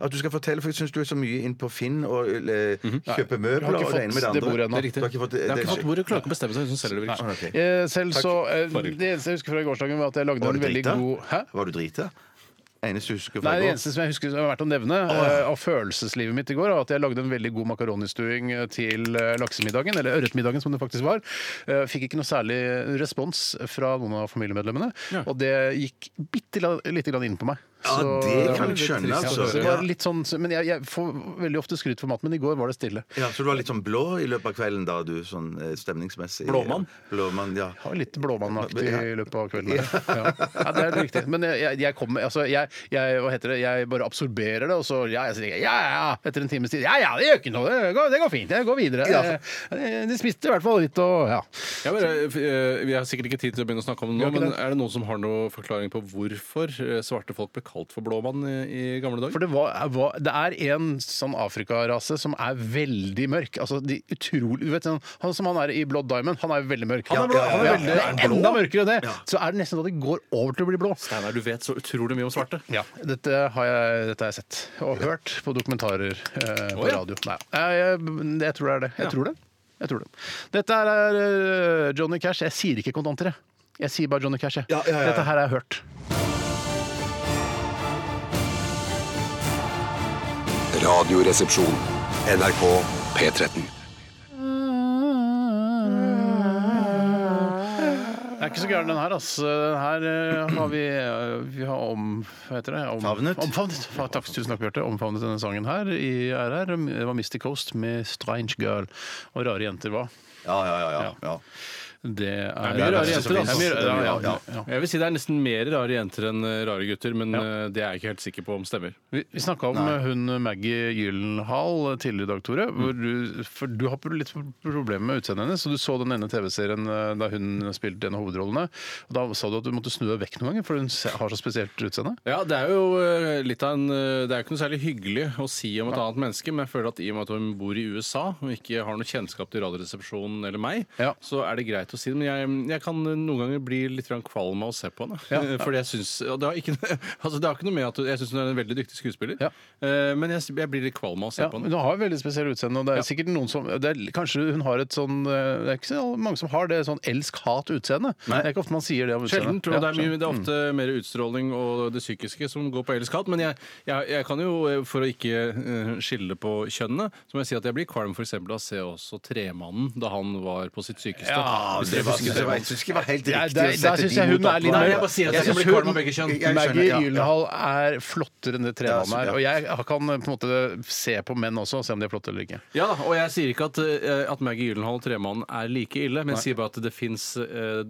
at du skal fortelle, for jeg syns du er så mye inn på Finn og eh, kjøper møbler ikke og fått det ene med det det andre. bordet ennå. Du har ikke fått det, Jeg har ikke fått det, bordet, klarer ikke å bestemme seg. Hun selger det vel ikke. Ok. Eh, Selv så eh, Forrige. Det eneste jeg husker fra gårsdagen, var at jeg lagde en Var du veldig drita? god Hæ? Var du drita? Eneste du husker fra Nei, i Det går? eneste som jeg husker som er verdt å nevne eh, av følelseslivet mitt i går, var at jeg lagde en veldig god makaronistuing eh, til eh, laksemiddagen, eller ørretmiddagen som det faktisk var. Eh, Fikk ikke noe særlig respons fra noen av familiemedlemmene, og det gikk bitte la- lite grann inn på meg. Ja, Så- det kan var jeg litt skjønne, trist, altså. Så det var litt sånn, men jeg, jeg får veldig ofte skryt for maten, men i går var det stille. Ja, Så du var litt sånn blå i løpet av kvelden da, du, sånn eh, stemningsmessig? Blåmann? Blåmann, ja. Jeg var litt blåmannaktig Ja. i løpet av kvelden. der. Ja. ja, Det er helt riktig. Men jeg, jeg kommer altså, jeg, jeg, Hva heter det? Jeg bare absorberer det, og så ja, jeg sier ja, ja, etter en times tid. Ja, ja, det gjør ikke noe. Det går, det går fint. Jeg går videre. Ja. Eh, De spiste i hvert fall litt, og ja. Jeg bare, eh, vi har sikkert ikke tid til å begynne å snakke om det Vi nå, har ikke men det. er det noen som har noen forklaring på hvorfor eh, svarte folk ble kalt for blåmann i, i For gamle dager? det, var, var, det er en sånn Afrikarase som er veldig mørk. Altså, de utrolig, du vet, sånn- han som han er i Blood Diamond, han er jo veldig mørk. Han er blå, han er veldig- det er han er blå? enda mørkere enn det! Så er det nesten sånn at det går over til å bli blå. Steinar, du vet så utrolig mye om svarte. Ja, dette har, jeg, dette har jeg sett og hørt på dokumentarer eh, på Å, ja. radio. Nei, jeg, jeg, jeg tror det er det. Jeg tror det. Jeg tror det. Dette her er eh, Johnny Cash. Jeg sier ikke kontanter, jeg. Jeg sier bare Johnny Cash. Jeg. Ja, ja, ja, ja. Dette her har jeg hørt. Radioresepsjon. NRK P13. Det er ikke så gæren den her, ass. Den her eh, har vi, eh, vi har om... Hva heter det? Om, Favnet. Omfavnet. Fa- Takk, tusen takk, Bjarte. Omfavnet denne sangen her i RR. Det var Misty Coast med Strange Girl. Og rare jenter, hva? Ja, ja, ja. ja. ja. Det er, mye rare det er- jenter, altså. Det er mye- ja, ja, ja. Ja. Jeg vil si det er nesten mer rare jenter enn eh, rare gutter, men eh, det er jeg ikke helt sikker på om stemmer. Vi, vi snakka om eh, hun Maggie Gyllenhaal tidligere i dag, Tore. Mm. Hvor du, for du har pro- litt problemer med utseendet hennes. og Du så den ene TV-serien eh, da hun spilte en av hovedrollene. og Da sa du at du måtte snu deg vekk noen ganger, for hun se- har så spesielt utseende. Ja, Det er jo eh, litt av en eh, Det er jo ikke noe særlig hyggelig å si om et annet menneske, men jeg føler at i og med at hun bor i USA og ikke har noe kjennskap til Radioresepsjonen eller meg, Ja. så er det greit å si det. Men jeg, jeg kan eh, noen ganger bli litt grann kvalm av å se på henne. Ja. Fordi jeg syns og det, har ikke, altså det har ikke noe med at Jeg syns hun er en veldig dyktig skuespiller, Ja. eh, men jeg, jeg blir litt kvalm av å se Ja, på hun henne. har veldig spesielt utseende. og det er sikkert noen som, det er, Kanskje hun har et sånn eh, Det er ikke så mange som har det sånn elsk-hat-utseende. Det er ikke ofte man sier det om utseende. Sjelden. tror jeg. Ja, Mm. det, er mye, det er ofte mer utstråling og det psykiske som går på elsk hat. Men jeg, jeg, jeg kan jo, eh, for å ikke eh, skille på kjønnene, så må jeg si at jeg blir kvalm f.eks. av å se også Tremannen da han var på sitt sykeste. Ja, Hvis Det dere var, husker det var, jeg synes ikke det var helt riktig Ja, å der- der sette synes de jeg hun er mot litt- hverandre. Nei, jeg bare sier at jeg synes kan bli hun- kvalm av begge kjønn. Jeg- jeg Maggie skjønner, ja, ja. Gyllenhaal er flottere enn det Trevann Ja, så- er. ja. Og jeg kan på en måte se på menn også og se om de er flotte eller ikke. Ja da, og jeg sier ikke at, eh, at Maggie Gyllenhaal og Tremannen er like ille, men jeg sier bare at det fins eh,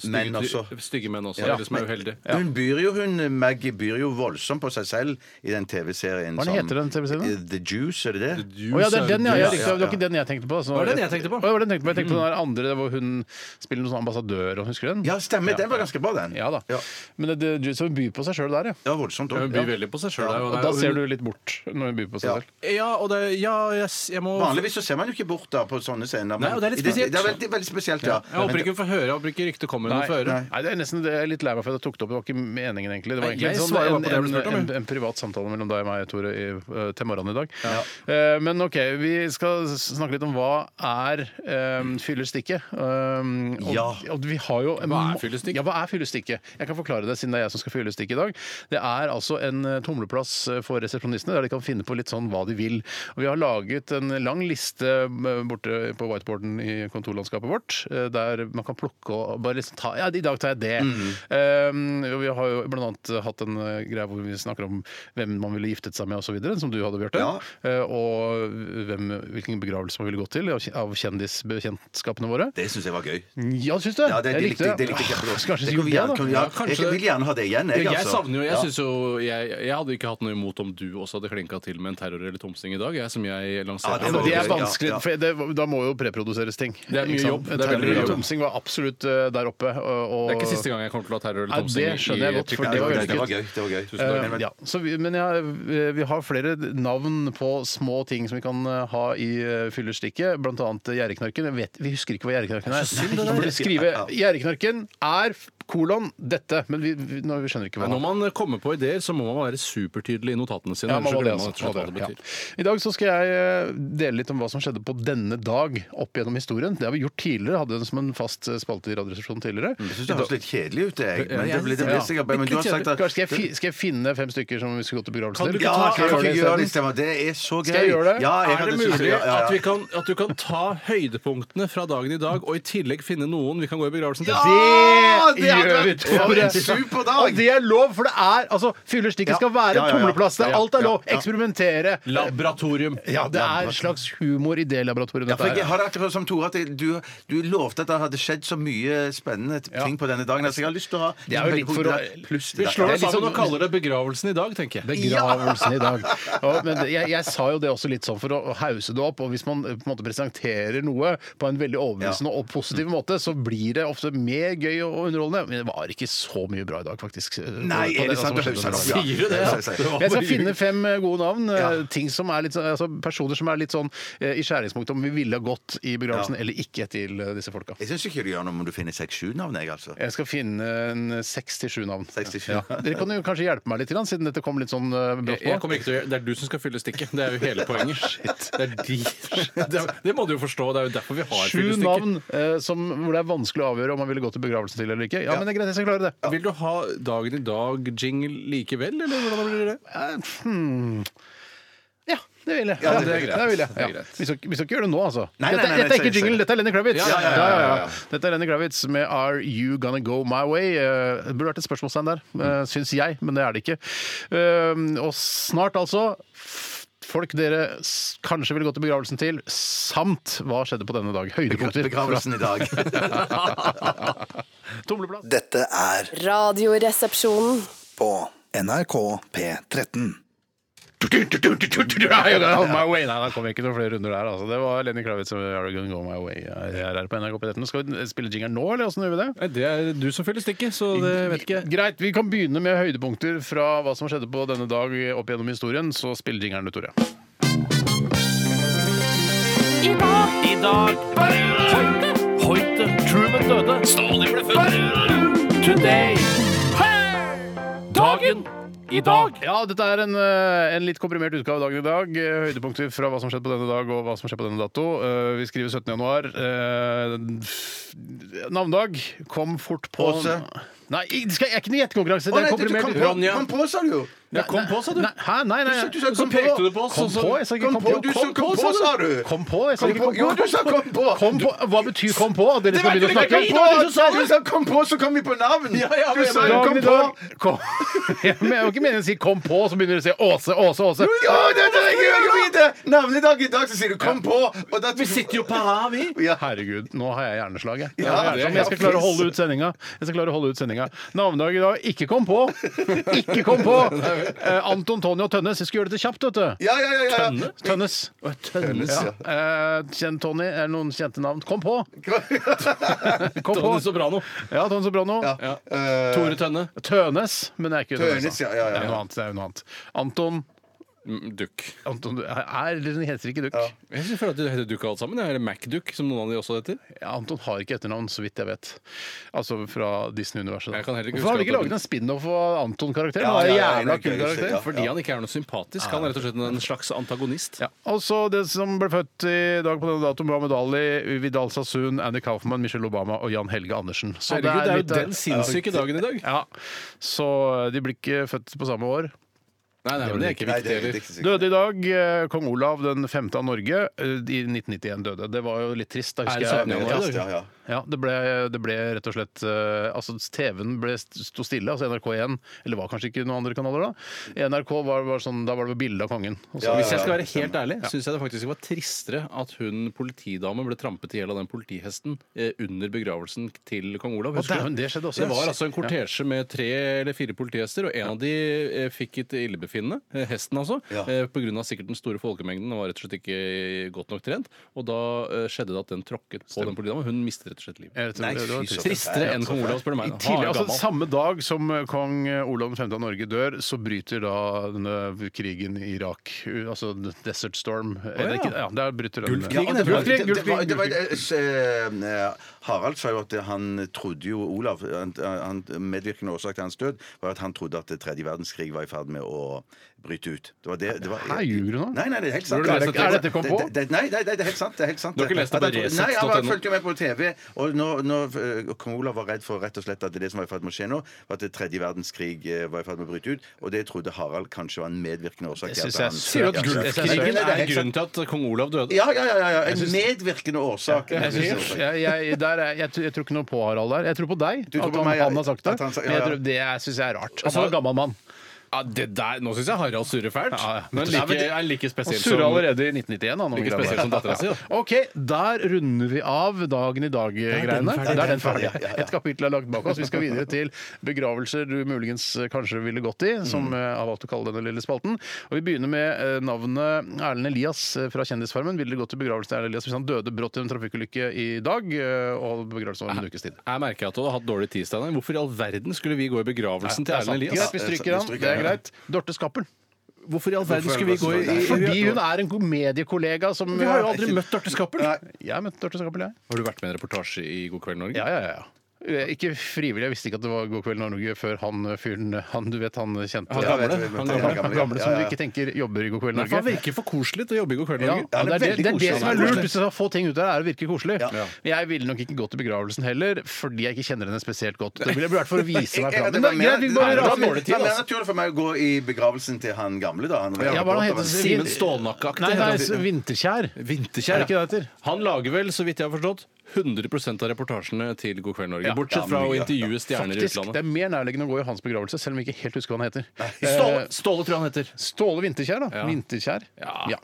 stygge, Menn også. stygge menn også, Ja. eller som er uheldige. Hun byr jo, hun, Maggie byr jo voldsomt på seg selv i den TV-serien Hva som- eh, heter den TV-serien? The Juice, er det det? Å ja, det er den, ja. ja, Ja, riktig. ja, Det var ikke den jeg tenkte på. altså. Var det den jeg tenkte på? Å, det var den jeg tenkte på. Jeg tenkte på den der andre der hvor hun spiller noen sånn ambassadør, og husker du den? Ja, stemmer. Den var ganske bra, den. Ja da. Ja, Men det, det, så hun byr på seg sjøl der, ja. det var voldsomt Hun òg. byr veldig på seg sjøl. Og da ser du litt bort når hun byr på seg Ja. selv. Ja, og det, ja jeg, s- jeg må Vanligvis så ser man jo ikke bort da på sånne scener. men Nei, og det er litt i den- spesielt. Det er veldig, veldig spesielt, ja. Jeg håper ikke hun får høre, jeg håper ikke ryktet kommer henne Nei, for øre. nei, det er nesten det jeg er litt lei meg for at jeg tok det opp. Det var ikke meningen, egentlig. Det var Nei, egentlig jeg en, svarer bare sånn, på det en, du spurte en, om, en, jo. en privat samtale mellom deg og meg, Tore, i, eh, til morgenen i dag. Eh, men OK, vi skal snakke litt om hva er um, fyllestikket. Um, og, Ja. og vi har jo en Hva er må- fyllestikk? Ja, hva er fyllestikket? Jeg kan forklare det, siden det er jeg som skal fylle stikket i dag. Det er altså en eh, tumleplass eh, for resepsjonistene, der de kan finne på litt sånn hva de vil. Og vi har laget en lang liste eh, borte på whiteboarden i kontorlandskapet vårt, eh, der man kan plukke og bare liksom ta Ja, i dag tar jeg det. Mm. Eh, og vi har jo blant annet hatt en eh, greie hvor vi snakker om hvem man ville giftet seg med osv., som du hadde, Bjarte. Ja. Eh, og hvem, hvilken begravelse man ville gått til av kj- av kjendisbekjentskapene våre. Det syns jeg var gøy. Ja, syns du? Ja, det, Mm. Jeg det likte jeg. Det likte jeg Åh, kjempegodt. Skal kanskje Det si kunne vi det, gjerne- da. kunne vi Ja, gjerne- kanskje Jeg det. vil gjerne ha det igjen, jeg, Jeg altså. savner jo, jeg, Ja. synes jo jeg, jeg hadde ikke hatt noe imot om du også hadde klinka til med en terror eller tomsing i dag, jeg, som jeg Ja, lanserte. det Men var det er gøy, ja, vanskelig, ja. for det, da må jo preproduseres ting. Det er mye Ikke sant? jobb. Det er Terror veldig mye og jobb. Tomsing var absolutt eh, der oppe. Og, og- det er ikke siste gang jeg kommer til å ha terror Nei, eller tomsing. det skjønner jeg i godt, for Pickle. Ja, det var gøy, vellykket. Det var gøy. Eh, Men- ja, så vi, men jeg, eh, vi har flere navn på små ting som vi kan eh, ha i eh, fyllestikket. Blant annet eh, gjerdeknarken. Jeg vet- Vi husker ikke hva gjerdeknarken er. så synd, det Du burde der. skrive Gjerriknarken er f- kolon dette, men vi, vi, nå, vi skjønner ikke hva Når man kommer på ideer, så må man være supertydelig i notatene sine. Ja, man var det, ellers så glemmer man rett altså. og slett Man hva var det det, betyr. ja. I dag så skal jeg eh, dele litt om hva som skjedde på denne dag opp gjennom historien. Det har vi gjort tidligere, hadde den som en fast eh, spalte i Radioresepsjonen tidligere. Jeg syns Mm, det høres litt kjedelig ut, jeg. Men det blir det Ja. blir sikkert bare- Men du har sagt at Kanskje skal, jeg fi, skal jeg finne fem stykker som vi skal gå til begravelse Kan du til? ikke Ja, kan ta du det sånn- ikke i gjøre stedet? det, Stefan? Det er så gøy. Skal jeg gjøre det? Ja, jeg Er det hadde syntes mulig ja, ja, ja. at vi, kan, at du kan ta høydepunktene fra dagen i dag, og i tillegg finne noen vi kan gå i begravelsen til? Ja, Det det hadde gjør vi, vært- Tore. for en super dag! Og det er lov, for det er altså, Fyllerstikket Ja. skal være Ja, ja, ja. tumleplass. Det er Ja, alt er ja, lov. ja. Eksperimentere. Laboratorium. Ja, det er en slags humor i det laboratoriet. Ja, for dette jeg er. har akkurat som Tore at det- du, du lovte at det hadde skjedd så mye spennende ting på denne dagen. Så jeg har lyst til å ha Det er jo litt for å pluss til Vi dette. slår Det er oss litt sammen sånn- og kaller det begravelsen i dag, tenker jeg. Begravelsen i dag. Ja, men det- jeg, jeg sa jo det også litt sånn for å hause det opp. Og hvis man eh, på en måte presenterer noe på en veldig overbevisende og positiv måte, så blir det ofte mer gøy og og underholdende. Men det var ikke så mye bra i dag, faktisk. eh, på- Nei, på er det som sant? Du skjedde denne hauser opp. dagen. Ja. Sier du det, ja? Jeg skal- jeg skal- Jeg skal finne fem eh, gode navn. eh, Ting som er litt, sånn- altså, personer som er litt sånn eh, i skjæringspunktet om vi ville ha gått i begravelsen Ja. eller ikke til eh, disse folka. Jeg syns ikke det gjør noe om du finner seks-sju navn, jeg, altså. Jeg skal finne en seks til sju navn. Seks til sju. Dere kan jo kanskje hjelpe meg litt, grann, siden dette kom litt sånn eh, Jeg, brått jeg på. kommer ikke til å gjøre Det er du som skal fylle stikket. Det er jo hele poenget. Det, er de, det, er- det må du jo forstå. Det er jo derfor vi har Sju fyllestikket. navn eh, som, hvor det er vanskelig å avgjøre om man ville gått til begravelsen til eller ikke. Ja, men det er greit, jeg skal klare det. Vil du ha dagen i dag-jingle likevel, eller hvordan blir det? Eh, hmm. Ja, det vil jeg. Ja, det er greit. vil jeg. Det Ja. er greit. Vi, skal, vi skal ikke gjøre det nå, altså. Nei, nei, dette, nei, nei, dette er ikke sorry, jingle, sorry. dette er Lenny Kravitz. Ja, ja, ja, ja, ja. Dette er Lenny Kravitz med Are You Gonna Go My Way? Eh, Det burde vært et spørsmålstegn der, uh, Mm. syns jeg, men det er det ikke. Eh, og snart altså f- Folk dere s- kanskje ville gått til begravelsen til, samt hva skjedde på denne dag. Høydepunkter. Begravelsen i dag. Tomleplass. Dette er Radioresepsjonen. på NRK P13. I got my way. Nei, da kommer ikke noen flere runder der. Altså. Det var Lenny Kravitz og Are You Gonna Go My Way. Jeg er her på NRK på 13. Skal vi spille jingeren nå, eller åssen gjør vi det? Nei, Det er du som fyller stikket, så det vet ikke Greit, vi kan begynne med høydepunkter fra hva som skjedde på denne dag opp gjennom historien. Så spiller jingeren ut, Tore. I dag Hoite Truman døde Stalin ble født Today Dagen I dag Ja, dette er en, eh, en litt komprimert utgave av dagen i dag. Eh, Høydepunkter fra hva som skjedde på denne dag, og hva som skjer på denne dato. Eh, Vi skriver 17. januar. Eh, f- Navnedag kom fort på Åse. Nei, det skal- jeg er ikke noe gjettekonkurranse. Det Å, er nei, du komprimert. kom på, Ronja. kom på, sa du jo! Ja, kom på, sa du. Nei, hæ? Nei, nei. Du sa- du sa Så kom på. Kom sånn som- på, jeg sa ikke Kom kom på, på. du sa kom på, sa du! Kom på, jeg sa ikke Kom på. kom på. Jo, du sa kom på! Kom på. Hva betyr kom på? Dere skal begynne å snakke Kom på! sa Du sa kom på, så kom vi på navn! Du Du sa jo dagen kom i på! dag. Kom. Jeg men jeg har ikke meningen å si 'kom på', så begynner du å si 'Åse, Åse, Åse'. Ja, det er det jeg gjør jo i det! Navnedag i dag, så sier du kom på! Og da, vi sitter jo Ja. Herregud, nå har jeg hjerneslag. Jeg, jeg, Ja, har hjerneslag, men jeg skal det- klare å holde ut sendinga. Jeg skal klare å holde ut sendinga. Navnedag i dag ikke kom på! Ikke kom på! Eh, Anton, Tonje og Tønnes. Jeg skulle gjøre dette kjapt, vet du. Ja, ja, ja, ja. Tønnes. Tønnes, ja. Eh, Kjenn Tony. Er det noen kjente navn? Kom på! Kom på. Tone Sobrano. Ja, Tone Sobrano. Ja. Eh, Tore Tønne. Tønes, men det er ikke Tønes. Tønes, da. ja, ja, ja, Det er ja. noe annet. Det er noe annet. Anton, Dukk. Anton du- er, eller den heter ikke Duck. Ja. Jeg synes- føler at de heter Dukk alt sammen. Eller MacDuck, som noen av de også heter. Anton har ikke etternavn, så vidt jeg vet. Altså fra Disney-universet. da. Jeg kan heller ikke Hvorfor har de huske ikke at- laget en spin-off av Anton-karakteren? Ja, Han er en ja, ja, jævla ja, kul ja, ja, karakter. ja. Fordi han ikke er noe sympatisk. Han er rett og slett en slags antagonist. Ja. Også det som ble født i dag på denne datoen, Mohammed Ali, Vidal Sassoon, Andy Kaufman, Michelle Obama og Jan Helge Andersen. Så Herregud, det er jo litt- den sinnssyke dagen i dag. Ja, Så eh, de blir ikke født på samme år. Nei, nei, men det er ikke Nei, viktig det er heller. riktig sikkert. Døde i dag eh, kong Olav den femte av Norge. eh, I 1991 døde. Det var jo litt trist, da Er husker det jeg. 17 januar i dag? Ja, ja. Ja, det ble, det ble rett og slett eh, Altså, TV-en ble st- sto stille, altså NRK1, eller var kanskje ikke noen andre kanaler da. NRK var, var sånn, Da var det bilde av kongen. altså. Og så- Ja, Hvis jeg skal være helt ærlig, syns jeg det faktisk var tristere at hun politidamen ble trampet i hjel av den politihesten eh, under begravelsen til kong Olav. Å, husker du? dæven, det skjedde også, Det ja. var altså en kortesje med tre eller fire politihester, og en av de eh, fikk et storfinnene, eh, hesten altså, Ja. eh, på grunn av sikkert den store folkemengden og var rett og slett ikke eh, godt nok trent. Og da eh, skjedde det at den tråkket på den politidamen. Hun mistet rett og slett livet. Jeg vet ikke, Nei, det var fy trist. søren. Tristere enn kong Olav, spør du I meg. tillegg, Han er altså gammel. Samme dag som eh, kong Olav 5. av Norge dør, så bryter da denne krigen i Irak u- Altså Desert Storm. Eller ikke, ja, der bryter den Gulfkrigen, Ja, heter Gulfkrigen, Det- det det. var- Gulfkrigen, det var- Gulfkrigen. eh, eh, Harald sa jo at han trodde jo Olav han, han, Medvirkende årsak til hans død var at han trodde at tredje verdenskrig var i ferd med å bryte ut. Det var det, det var, Her ljuger du nå. Nei, nei, det er helt sant. Hvor har du lest Det- det- dette? Er dette kom på? Det, det, nei, nei, det er helt sant. Det er helt sant. Du har ikke lest det på At jeg trodde- Nei, jeg bare resett.no? fulgte jo med på TV, og nå, nå, eh, kong Olav var redd for rett og slett at det som var i ferd med å skje nå, var at det tredje verdenskrig eh, var i ferd med å bryte ut, og det trodde Harald kanskje var en medvirkende årsak Det til synes jeg at han er Sier du at Ja, ja, ja. Gulfkrigen Nei, det er helt sant. grunnen til at kong Olav døde? Ja, ja, ja, ja, ja. En medvirkende årsak. Jeg, synes, jeg, jeg, der er, jeg, tr- jeg tror ikke noe på Harald der. Jeg tror på deg. tror at på han, meg, ja. han har sagt det. At han sa- ja, Men jeg ja. tror, det syns jeg er rart. Han Altså- var en gammel mann. Ja, det der, Nå syns jeg Harald surrer fælt. Ja, ja. Men Ja, men like, det- er like Han spesiell surra allerede i 1991. Han, om Ikke greier der. spesielt som datteren sin, da. Ja. OK, der runder vi av dagen i dag-greiene. ferdig. Der er den ferdig. Et kapittel er lagt bak oss. Vi skal videre til begravelser du muligens eh, kanskje ville gått i, som Mm. eh, jeg har valgt å kalle denne lille spalten. Og Vi begynner med eh, navnet Erlend Elias eh, fra Kjendisfarmen. Ville dere gått til begravelse til Erlend Elias hvis han døde brått i en trafikkulykke i dag? eh, Og begravelse om en ukes tid. Jeg merker at du har hatt dårlig tid, Steinar. Hvorfor i all verden skulle vi gå i begravelsen til Det er sant. Erlend Greit, Elias? vi stryker han. Det er greit. Dorte Skappel. Hvorfor i all verden skulle vi gå i Fordi hun er en god mediekollega som Vi har jo aldri møtt Dorte Skappel. Jeg møtte Dorte Skappel, jeg. Har du vært med i en reportasje i God kveld, Norge? Ja, ja, ja, ja. Eh, Ikke frivillig. Jeg visste ikke at det var God kveld Norge før han eh, fyren han du vet han eh, kjente Han gamle. Han Han gamle. gamle, som ja, du ja. ikke tenker jobber i God kveld Nei, for Norge. Han virker for koselig til å jobbe i God kveld, Ja, Norge. ja, det, er det, det er det som er lurt. koselig. Hvis du skal få ting ut der, er det virke koselig. Men Jeg ville nok ikke gått til begravelsen heller, fordi jeg ikke kjenner henne spesielt godt. Det ville jeg vært for å vise meg fram. Men Det det er greit, vi bare var raser mer videre. naturlig for meg å gå i begravelsen til han gamle, da. Han Ja, hva heter han? Simen Stålnakke-aktig Nei, nei, heter han. Vinterkjær. Vinterkjær, Er det ikke det det heter? Han lager vel, så vidt jeg har forstått, 100 av reportasjene til God kveld, Norge. Ja. Bortsett fra å intervjue stjerner i Faktisk, det utlandet. er mer nærliggende å gå i hans begravelse, selv om jeg ikke helt husker hva han heter. Eh, Ståle, Ståle tror jeg han heter. Ståle Vinterkjær, da. Ja. Vinterkjær. Ja.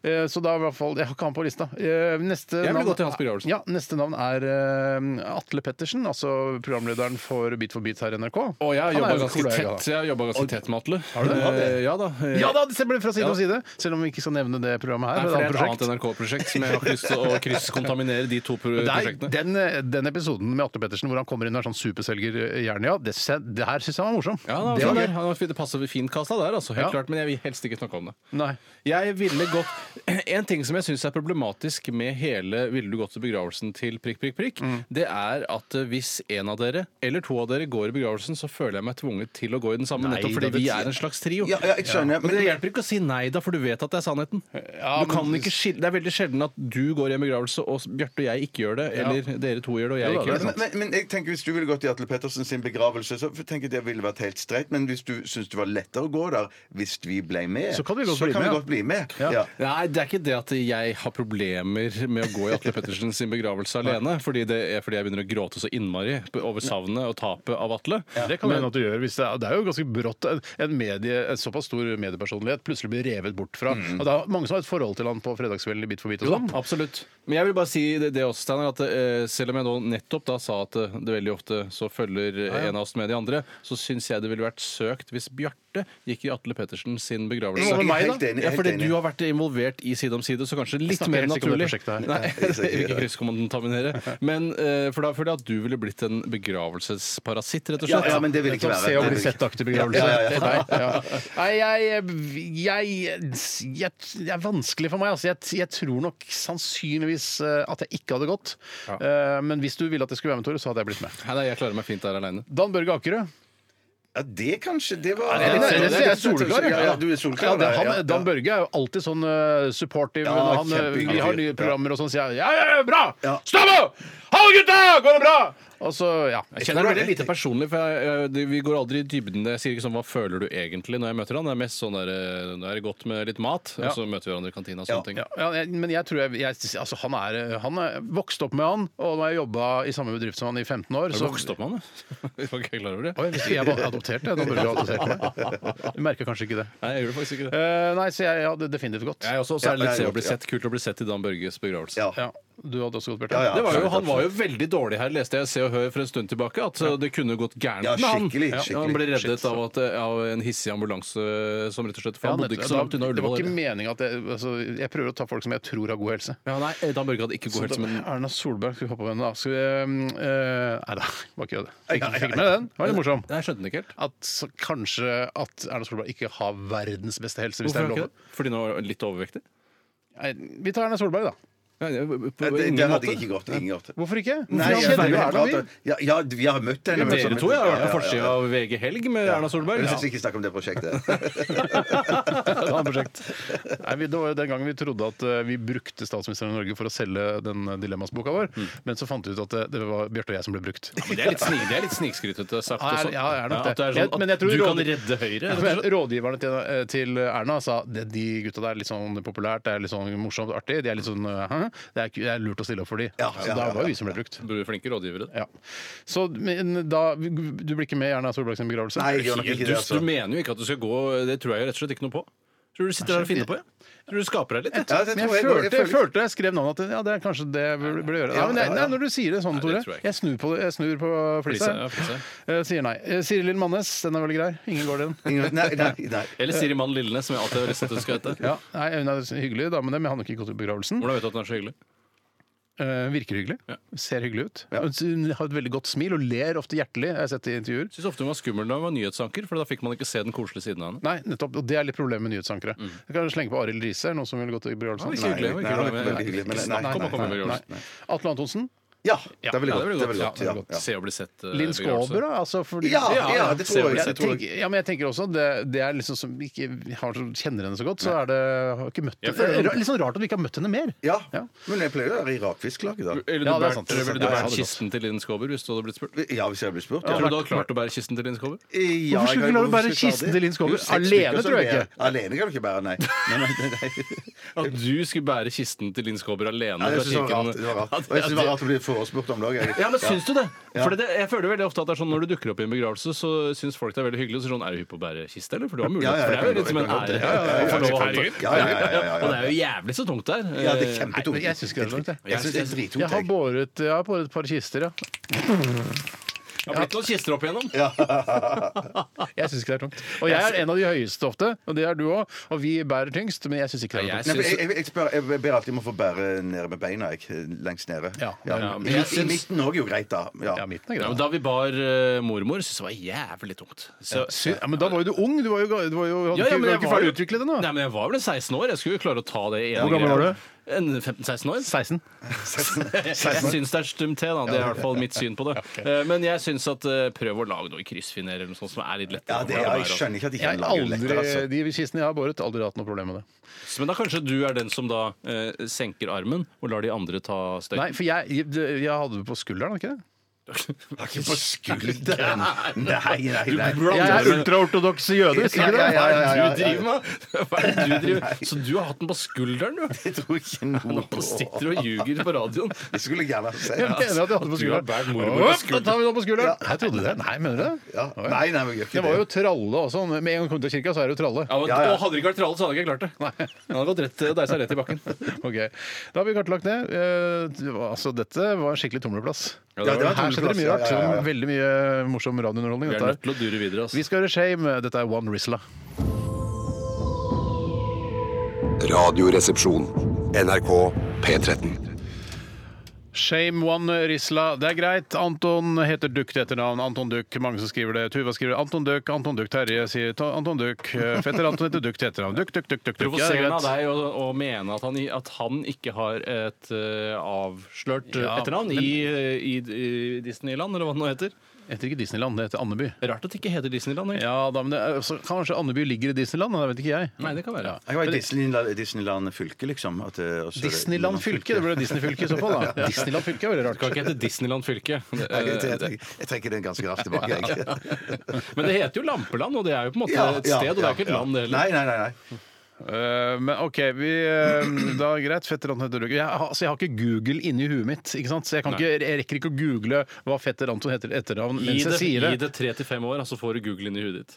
Eh, Så da er i hvert fall Jeg har ikke han på lista. Eh, Neste Jeg vil navn- gå til hans begravelse. Ja, neste navn er eh, Atle Pettersen, altså programlederen for Beat for beat her i NRK. Og jeg har Han er jobba jo ganske kollega, da. tett, jeg har jobbet ganske tett med Atle. du det? Eh, Ja da. eh, Ja da, det stemmer fra side Ja. om side, selv om vi ikke skal nevne det programmet her. Nei, men for det er et et annet annet NRK-prosjekt som jeg har ikke lyst til å krysskontaminere de to pro- prosjekt. prosjektene. Nei, den, den episoden med Atle Pettersen hvor han kommer inn og er sånn superselger i Jernia, det, sy- det her syns jeg var morsom. Ja, Det var det, var sånn der. Han var- det passer fint kassa der, altså. Helt Ja. klart, men jeg vil helst ikke snakke om det. Nei. Jeg ville gått En ting som jeg syns er problematisk med hele 'ville du gått til begravelsen til prikk, prikk, prikk', det er at eh, hvis en av dere, eller to av dere, går i begravelsen, så føler jeg meg tvunget til å gå i den samme, nettopp fordi vi er en slags trio. Ja, ja, jeg skjønner. Men det Men, hjelper ikke å si nei, da, for du vet at det er sannheten. du kan ikke skille, det er veldig sjelden at du går i en begravelse, og Bjarte og jeg ikke gjør det. Eller dere to gjør det, og jeg Jo da, ikke det er gjør det. men, men, men jeg tenker hvis du ville gått i Atle Pettersen sin begravelse, så tenker jeg det ville vært helt streit. Men hvis du syns det var lettere å gå der hvis vi ble med, Så kan vi godt bli kan med, ja. godt bli med. Ja. Ja. Nei, det er ikke det at jeg har problemer med å gå i Atle Pettersen sin begravelse alene, fordi, det er fordi jeg begynner å gråte så innmari over savnet og tapet av Atle. Det kan hende at du gjør. Hvis det, er, det er jo ganske brått en, en, medie, en såpass stor mediepersonlighet plutselig blir revet bort fra. Mm. Og det er mange som har et forhold til han på fredagskvelden i Bit for bit. og sånn. Absolutt. Men jeg vil bare si det, det også, Steinar, at eh, selv om jeg nå nettopp da sa at eh, det veldig ofte så følger eh, en av oss med de andre, så syns jeg det ville vært søkt hvis Bjarte gikk i Atle Pettersen sin begravelse. Hva med meg, da? Helt enig, ja, helt fordi enig. du har vært involvert i Side om side, så kanskje litt snakker mer helst ikke om det naturlig. prosjektet her. Nei, det vil ikke krysskontaminere. Men eh, for da føler jeg at du ville blitt en begravelsesparasitt, rett og Ja, slett. ja, men det vil ikke Nettopp, Sånn være Se og det vil bli ikke- sett-aktig begravelse Ja, ja, ja. for deg. Ja. Nei, jeg, jeg, jeg Det er vanskelig for meg. Altså. Jeg, jeg tror nok sannsynligvis eh, at jeg ikke hadde gått. Eh, Men hvis du ville at jeg skulle være med, Tore, så hadde jeg blitt med. Nei, nei, jeg klarer meg fint der aleine. Dan Børge Akerø. ja, det kanskje Det var Ja, det, det, det er solklar. Ja, ja, du er solklar. Ja, det, ja, han, ja, ja. Dan Børge er jo alltid sånn eh, supportive. Ja, når han, eh, kjempehyggelig vi har fyr. nye Ja. programmer og sånn, sier jeg ja, ja, ja, bra! Ja. Stabbo! Hallo, gutta! Går det bra? Og så, ja. Jeg kjenner det veldig lite personlig, for jeg, jeg, det- vi går aldri i dybden. Jeg sier ikke sånn 'hva føler du egentlig' når jeg møter han. Det er mest sånn der, eh, 'nå er det godt med litt mat', og så møter vi hverandre i kantina og Ja, sånne ting. Ja, ja, jeg- men jeg tror jeg, jeg altså, han, er, han er vokst opp med han, og nå har jeg jobba i samme bedrift som han i 15 år. Har du vokst opp med han, da? Jeg var ikke klar over det. Oi, hvis ikke jeg var adoptert, jeg. Da burde jeg adoptert meg. Du merker kanskje ikke det. Nei, jeg gjorde faktisk ikke det. Eh, nei, så Eh, jeg hadde definitivt gått. Jeg også, så er Ja, det jeg litt se å gjorde bli det, ja. sett. Kult å bli sett i Dan Børges begravelse. Ja. Ja. Du hadde også gått, Bjarte. Ja, ja, Det var jo, absolutt, han var jo absolutt. veldig dårlig her, leste jeg Se og Hør for en stund tilbake, at uh, det kunne gått gærent Ja, med han. skikkelig, Ja, skikkelig. Han ble reddet Shit, av, at, uh, av en hissig ambulanse som rett og slett For han bodde nettopp. ikke så langt unna det var ikke Ullevål. meningen at jeg, altså, jeg prøver å ta folk som jeg tror har god helse. Ja, nei, Dan Børge hadde ikke Så god da- helse, men Erna Solberg, skal vi hoppe over henne da? Skal vi, eh, nei da, bare kødd. Fikk, ja, ja, fikk med den. Det var litt morsom. Nei, jeg skjønte den ikke helt. At så, kanskje at Erna Solberg ikke har verdens beste helse, hvis Hvorfor det er lov. ikke det? Fordi nå er litt overvektig? Nei, Vi tar Erna Solberg, da. Nei, på- på Det, det, ingen det hadde måte. jeg ikke gått. Ingen gått. Hvorfor ikke? Hvorfor Nei, jeg, kjenner jo Erna, vi? ja, ja, vi har møtt henne. men Dere som- to jeg har Ja, vært på ja, forsida ja. av VG Helg med Erna Solberg. Jeg Ja. syns ikke snakk om det prosjektet. Et annet prosjekt. Nei, vi, det var jo den gangen vi trodde at eh, vi brukte statsministeren i Norge for å selge den eh, Dilemmas-boka vår, Mm. men så fant vi ut at eh, det, det var Bjarte og jeg som ble brukt. Men det er litt, snik, det er litt snikskrytete sagt. Ja, også. ja, det er nok det. at det er Jeg- sånn men at jeg tror du kan råd- redde Høyre. Ja, men Rådgiverne til, eh, til Erna sa at de gutta der er litt sånn populært, det er litt sånn morsomt, artig. De er litt sånn eh, hæ? Det er, ku- det er lurt å stille opp for de. Ja, så ja, da ja, var ja, jo vi som ble brukt. Du er flinke rådgivere. Ja. Så men, da Du blir ikke med i Erna Solberg sin begravelse? Nei, jeg gjør nok Helt ikke det. dust. Du Altså. mener jo ikke at du skal gå Det tror jeg rett og slett ikke noe på. Tror du sitter der og finner på, ja? Tror du skaper deg litt? Ja, Ja. det Men tror jeg jeg, følte, jeg jeg føler- følte jeg skrev navnet at ja, det er kanskje det jeg burde burde gjøre. Ja, men jeg, nei, når du sier det sånn, det Tore tror jeg ikke. Jeg snur på, det- jeg snur på flisa. Flisa, ja, flisa. Eh, Sier nei. Eh, Siri Lill Mannes, den er veldig grei. Ingen går den. Ingen- Nei, nei, nei. Eller Siri Mann Lillenes, som jeg alltid har lyst til at du skal hete. Ja, nei, Hun er hyggelig dame, det, men jeg hadde nok ikke gått i begravelsen. Hvordan vet du at den er så hyggelig? Eh, virker hyggelig. Ja. Ser hyggelig ut. Hun har et veldig godt smil og ler ofte hjertelig. Jeg har sett det i intervjuer. Syns ofte hun var skummel da hun var nyhetsanker, for da fikk man ikke se den koselige siden av henne. Nei, nettopp, og Det er litt problemet med nyhetsankere. Mm. Jeg kan slenge på Arild Riise. Er det noen som ville gått i begravelsen? Nei, ikke hyggelig, nei, det var ikke hyggelig. ikke veldig hyggelig, men Ikke nei, snakk om å nei, komme i Nei. begravelse. Atle Antonsen. Ja, det er veldig Ja, godt. Det er veldig godt. Ja, Ja, det er ja. godt. Se og bli sett. eh, Linn begravelse. Skåber, da? Altså, fordi- Ja, ja, det Se og tror jeg. bli Jeg det tror jeg. tenker, ja, men jeg tenker også det, det er liksom som ikke har, så- kjenner henne så godt, så er det har ikke møtt Ja, henne. for- Det er litt sånn rart at vi ikke har møtt henne mer. Ja, men jeg pleier å være i rakfisklaget, da. Ja, Eller du det er bært, sant, det er sant. Ja, jeg ville du bært hadde gått. kisten til Linn Skåber hvis du hadde blitt spurt? Ja, hvis jeg blir spurt. Tror Ja. du du hadde klart å bære kisten til Linn Skåber? Ja, Hvorfor skulle du klare å jeg- bære hvorfor skulle jeg kisten det? til Linn Skåber? Jo, seks Alene stykker, så tror jeg det er- ikke. Alene kan du ikke bære, nei. nei, nei, nei, nei. At du skulle bære kisten til Linn Skåber alene? Nei, fra jeg synes det var kirken? rart. Det var rart. Og jeg synes det var rart å bli forespurt om det òg. Ja, men syns du det? For det, jeg føler veldig ofte at det er sånn når du dukker opp i en begravelse, så syns folk det er veldig hyggelig. Og så er det sånn, er du hypp på å bære kiste, eller? For du har mulighet. Ja, ja, for det er jo jeg litt som en kan- jeg kan- ære. ja, ja, ja, å få lov å ha det. Ja, ja, ja, ja, ja. Og det er jo jævlig så tungt der. Ja, det er Nei, kjempetungt. men jeg synes ikke det er langt, jeg. Jeg synes det er Jeg drittungt. har jeg. båret, jeg har båret et par kister, ja. Det har blitt noen kister opp igjennom. Jeg syns ikke det er tungt. Og jeg er en av de høyeste ofte, og det er du òg. Og vi bærer tyngst, men jeg syns ikke det er Ja, tungt. jeg Nei, for syns- jeg, jeg, jeg, spør, jeg ber alltid om å få bære nede med beina. Jeg, lengst nede. Ja, ja, men I, jeg I syns- midten òg er jo greit, da. Ja. Ja, midten er grei. Ja, men da vi bar eh, mormor, syntes jeg det var jævlig tungt. Så, Sy- Ja, men da var jo du ung. Du var jo, ga- du var jo, hadde ikke, du var ikke var ferdig jo- utviklet ennå. Nei, men jeg var vel 16 år. Jeg skulle jo klare å ta det ene Hvor gammel var greia. En 15-16 år. 16. Jeg syns det er stum te, da. Det er i hvert fall mitt syn på det. Eh, Men jeg syns at eh, prøv å lage noe i kryssfiner eller noe sånt som er litt lettere. Ja, det, jeg altså. skjønner ikke at de Jeg ikke har lager det aldri, lettere. Altså. De kistene jeg har båret, aldri hatt noe problem med det. Men da kanskje du er den som da eh, senker armen og lar de andre ta støyten? Nei, for jeg, jeg, jeg hadde det på skulderen, hadde jeg ikke det? Det er ikke på skulderen! Nei, nei, nei. Jeg er ultraortodoks jøde. Ja, ja, ja, ja, ja, Hva er det du driver med? Hva er det du driver med? Så du har hatt den på skulderen, du? Jeg tror ikke noe Nå sitter du og ljuger på radioen. Jeg skulle gjerne ha Jeg sett mener at jeg hadde det på Du har skulderen. båret mormor på Opp, Da skulderen. tar vi det på skulderen! Jeg trodde det. Nei, mener du det? ja. Nei, nei, men jeg Det gjør ikke var det. jo tralle også. Med en gang du kom til kirka, så er det jo tralle. Ja, men, Ja, ja. og Hadde det ikke vært trallet, så hadde jeg ikke klart det. Han hadde gått rett og deisa rett i bakken. Ok, Da har vi kartlagt det. Eh, det var- altså, dette var skikkelig tumleplass. Ja, det var Her skjedde det mye rart. tumleplass. Ja, ja, ja, ja. Veldig mye morsom radiounderholdning. Vi er Dette her. nødt til å dure videre. Altså. Vi skal høre Shame. Dette er One Rizla. Radioresepsjon. NRK P13. Shame One Risla. Det er greit. Anton heter Duck til etternavn. Anton Duck, mange som skriver det. Tuva skriver Anton Duck, Anton Duck Terje sier ta- Anton Duck. Eh, Fetter Anton heter Duck til etternavn. Duck, Duck, Duck, Duck. Duck. Ja, det er Provoserende av greit. deg å, å mene at han, i- at han ikke har et eh, avslørt eh, Ja, etternavn i, i, i Disneyland, eller hva det nå heter. Det heter ikke Disneyland, det heter Andeby. Rart at det ikke heter Disneyland. egentlig. Ja, da, men det, er- så kanskje Andeby ligger i Disneyland? Det vet ikke jeg. Nei, det kan være. Jeg var i Disneyland, Disneyland fylke, liksom. At, det- og så er det- Disneyland fylke? Det ble Disney fylke i så fall, da. Disneyland fylke er veldig Det kan rart. ikke hete Disneyland fylke. Nei, Jeg, jeg, Eh, jeg, jeg trekker den ganske raskt tilbake. Jeg. Men det heter jo Lampeland, og det er jo på en måte Ja, et ja, sted, og det ja, er ikke et ja. land det Nei, heller. nei, nei. nei. Eh, men OK, vi eh, Da er det greit. Fetter Anton heter Duck. Jeg, har- altså, jeg har ikke Google inni huet mitt, ikke sant? så jeg, kan ikke, jeg rekker ikke å google hva fetter Anton heter etternavn Gi mens jeg det, sier gi det. det tre til fem år, og så får du Google inn i huet ditt.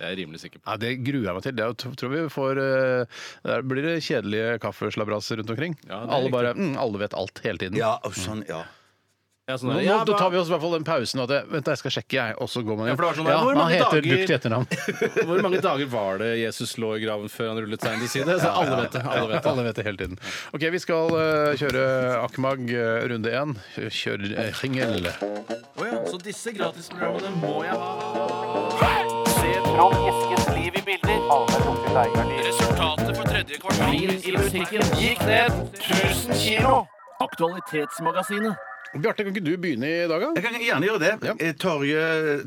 Det er jeg rimelig sikker på. Nei, Det gruer jeg meg til. Det er, jo- tror vi får, eh, der blir det kjedelige kaffeslabbraser rundt omkring. Ja, det er alle, riktig. bare, mm, alle vet alt hele tiden. Ja, og sånn, ja. Ja, sånn Nå, er det. nå, Ja, da da- tar vi oss i hvert fall den pausen at jeg, vent, da, jeg skal sjekke, jeg. Og så går man Ja, for det var sånn der, hvor han mange heter dager- Duck til etternavn. Hvor mange dager var det Jesus lå i graven før han rullet seg inn til side? Så alle vet det. Alle vet det. Alle vet det hele tiden. OK, vi skal eh, kjøre Akmag eh, runde én. Kjør uh, ringel. Så disse gratisprogrammene må jeg ha. Trond Eskens liv i bilder. Resultatet for tredje kvartal i musikken gikk ned 1000 kilo. Aktualitetsmagasinet. Bjarte, kan ikke du begynne i dag, da? Jeg kan gjerne gjøre det. Ja. Eh, Torje,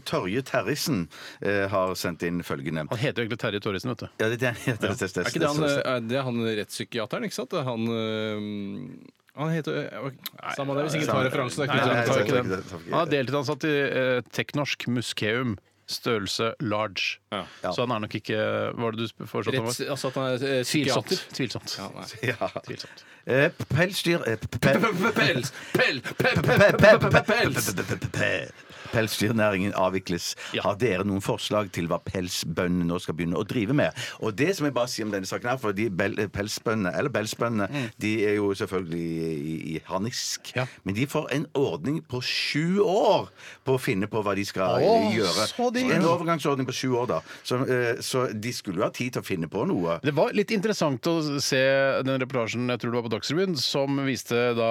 Torje Terrissen eh, har sendt inn følgende. Han heter jo egentlig Terje Torrisen, vet du. Ja, det, det, det, det, det, det, Er ikke det han, eh, er det han rettspsykiateren, ikke sant? Det er Han, øhm, han heter øh, Samme det, hvis ikke tar referansen. det er Nei, nei, ikke noe nei, jeg tar ikke ikke den. den. Han er deltidsansatt i eh, Teknorsk Muskeum. Størrelse large. Ja. Så han er nok ikke Hva var det du sp- foreslått han Retts, var? altså at han er øh, Tvilsomt. psykiater. Tvilsomt. Ja, nei. Ja. Tvilsomt. Eh, Pelsdyr eh, pel- Pels, pel, pel, pel, pel, pel, pels. Pels. Pelsdyrnæringen avvikles. Har dere noen forslag til hva pelsbøndene nå skal begynne å drive med? Og det som jeg bare sier om denne saken her, for de bel- pelsbøndene, eller belsbøndene, de er jo selvfølgelig i, i harnisk. Mm. Ja. Men de får en ordning på sju år på å finne på hva de skal Å, gjøre. så digg. En overgangsordning på sju år, da. Så, eh, så de skulle jo ha tid til å finne på noe. Det var litt interessant å se den reportasjen jeg tror det var på Dagsrevyen, som viste da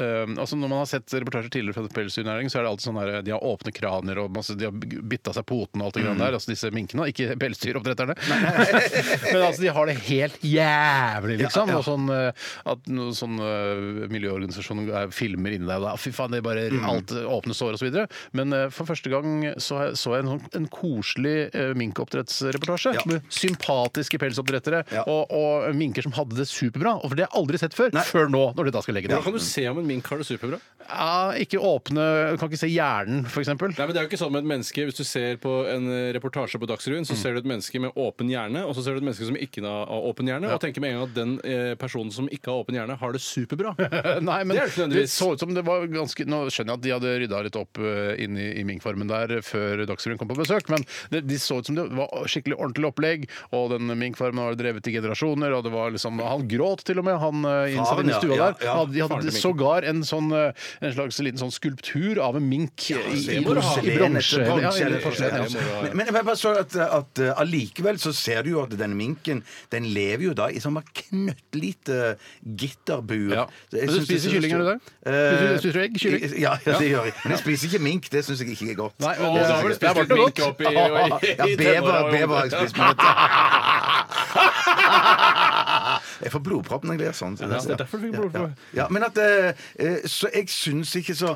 eh, altså Når man har sett reportasjer tidligere fra pelsdyrnæringen, så er det alltid sånn her De har åpne kraner og masse, de har bitta seg poten og alt det grann der. Altså disse minkene, ikke pelsdyroppdretterne. Men altså, de har det helt jævlig, liksom. Og sånn eh, at noen sånne eh, miljøorganisasjoner er- filmer inni deg, og da fy faen, det er bare alt eh, åpne sår og så videre. Men eh, for første gang så jeg, så jeg en, sånn- en koselig eh, minkoppdrettsreportasje. Ja. Med sympatiske pelsoppdrettere Ja. og, og minker som hadde det superbra. Og for det har jeg aldri sett før. Før nå, når de da skal legge Hvordan det. kan du se om en mink har det superbra? Ja, ikke åpne Du kan ikke se hjernen, f.eks. Nei, men det er jo ikke sånn med et menneske Hvis du ser på en eh, reportasje på Dagsrevyen, så ser du et menneske med åpen hjerne, og så ser du et menneske som ikke har har åpen hjerne, og tenker med en gang at den eh, personen som ikke har åpen hjerne, har det superbra. Nei, men Det er det ikke det, nødvendigvis. så ut som det var ganske Nå skjønner jeg at de hadde rydda litt opp eh, inni i minkfarmen der før Dagsrevyen kom på besøk, men det, de så ut som det var skikkelig ordentlig opplegg, og den minkfarmen var drevet i generasjoner, og det var liksom Han gråt til og med, han eh, innsatt inne Faren, i ja, stua ja, der. ja. Han- De Faren til hadde minken. sågar en sånn eh, en slags liten sånn skulptur av en mink i, i, i Hvor har vi den bronse. etter Ja, bronse, eller eller- porselen, ja, ja. ja. Men- Men jeg bare så at, at uh, allikevel så ser du jo at den minken den lever jo da i sånn knøttlite gitterbur. Ja. Så jeg Men du synes det spiser synes kylling, jo- er du det? Eh, Spiser du- spiser du egg, kylling? Ja, ja, det gjør jeg. Men jeg spiser ikke mink. Det syns jeg ikke er godt. Nei, men Og det- da har du det er spist litt varmt og mink godt. opp i, i, ja, i bever, tenåra. bever har jeg spist. Men jeg får blodpropp når jeg ler sånn. så Ja, det er derfor du fikk ja, blodpropp. Ja, ja, men at eh, eh, Så jeg syns ikke så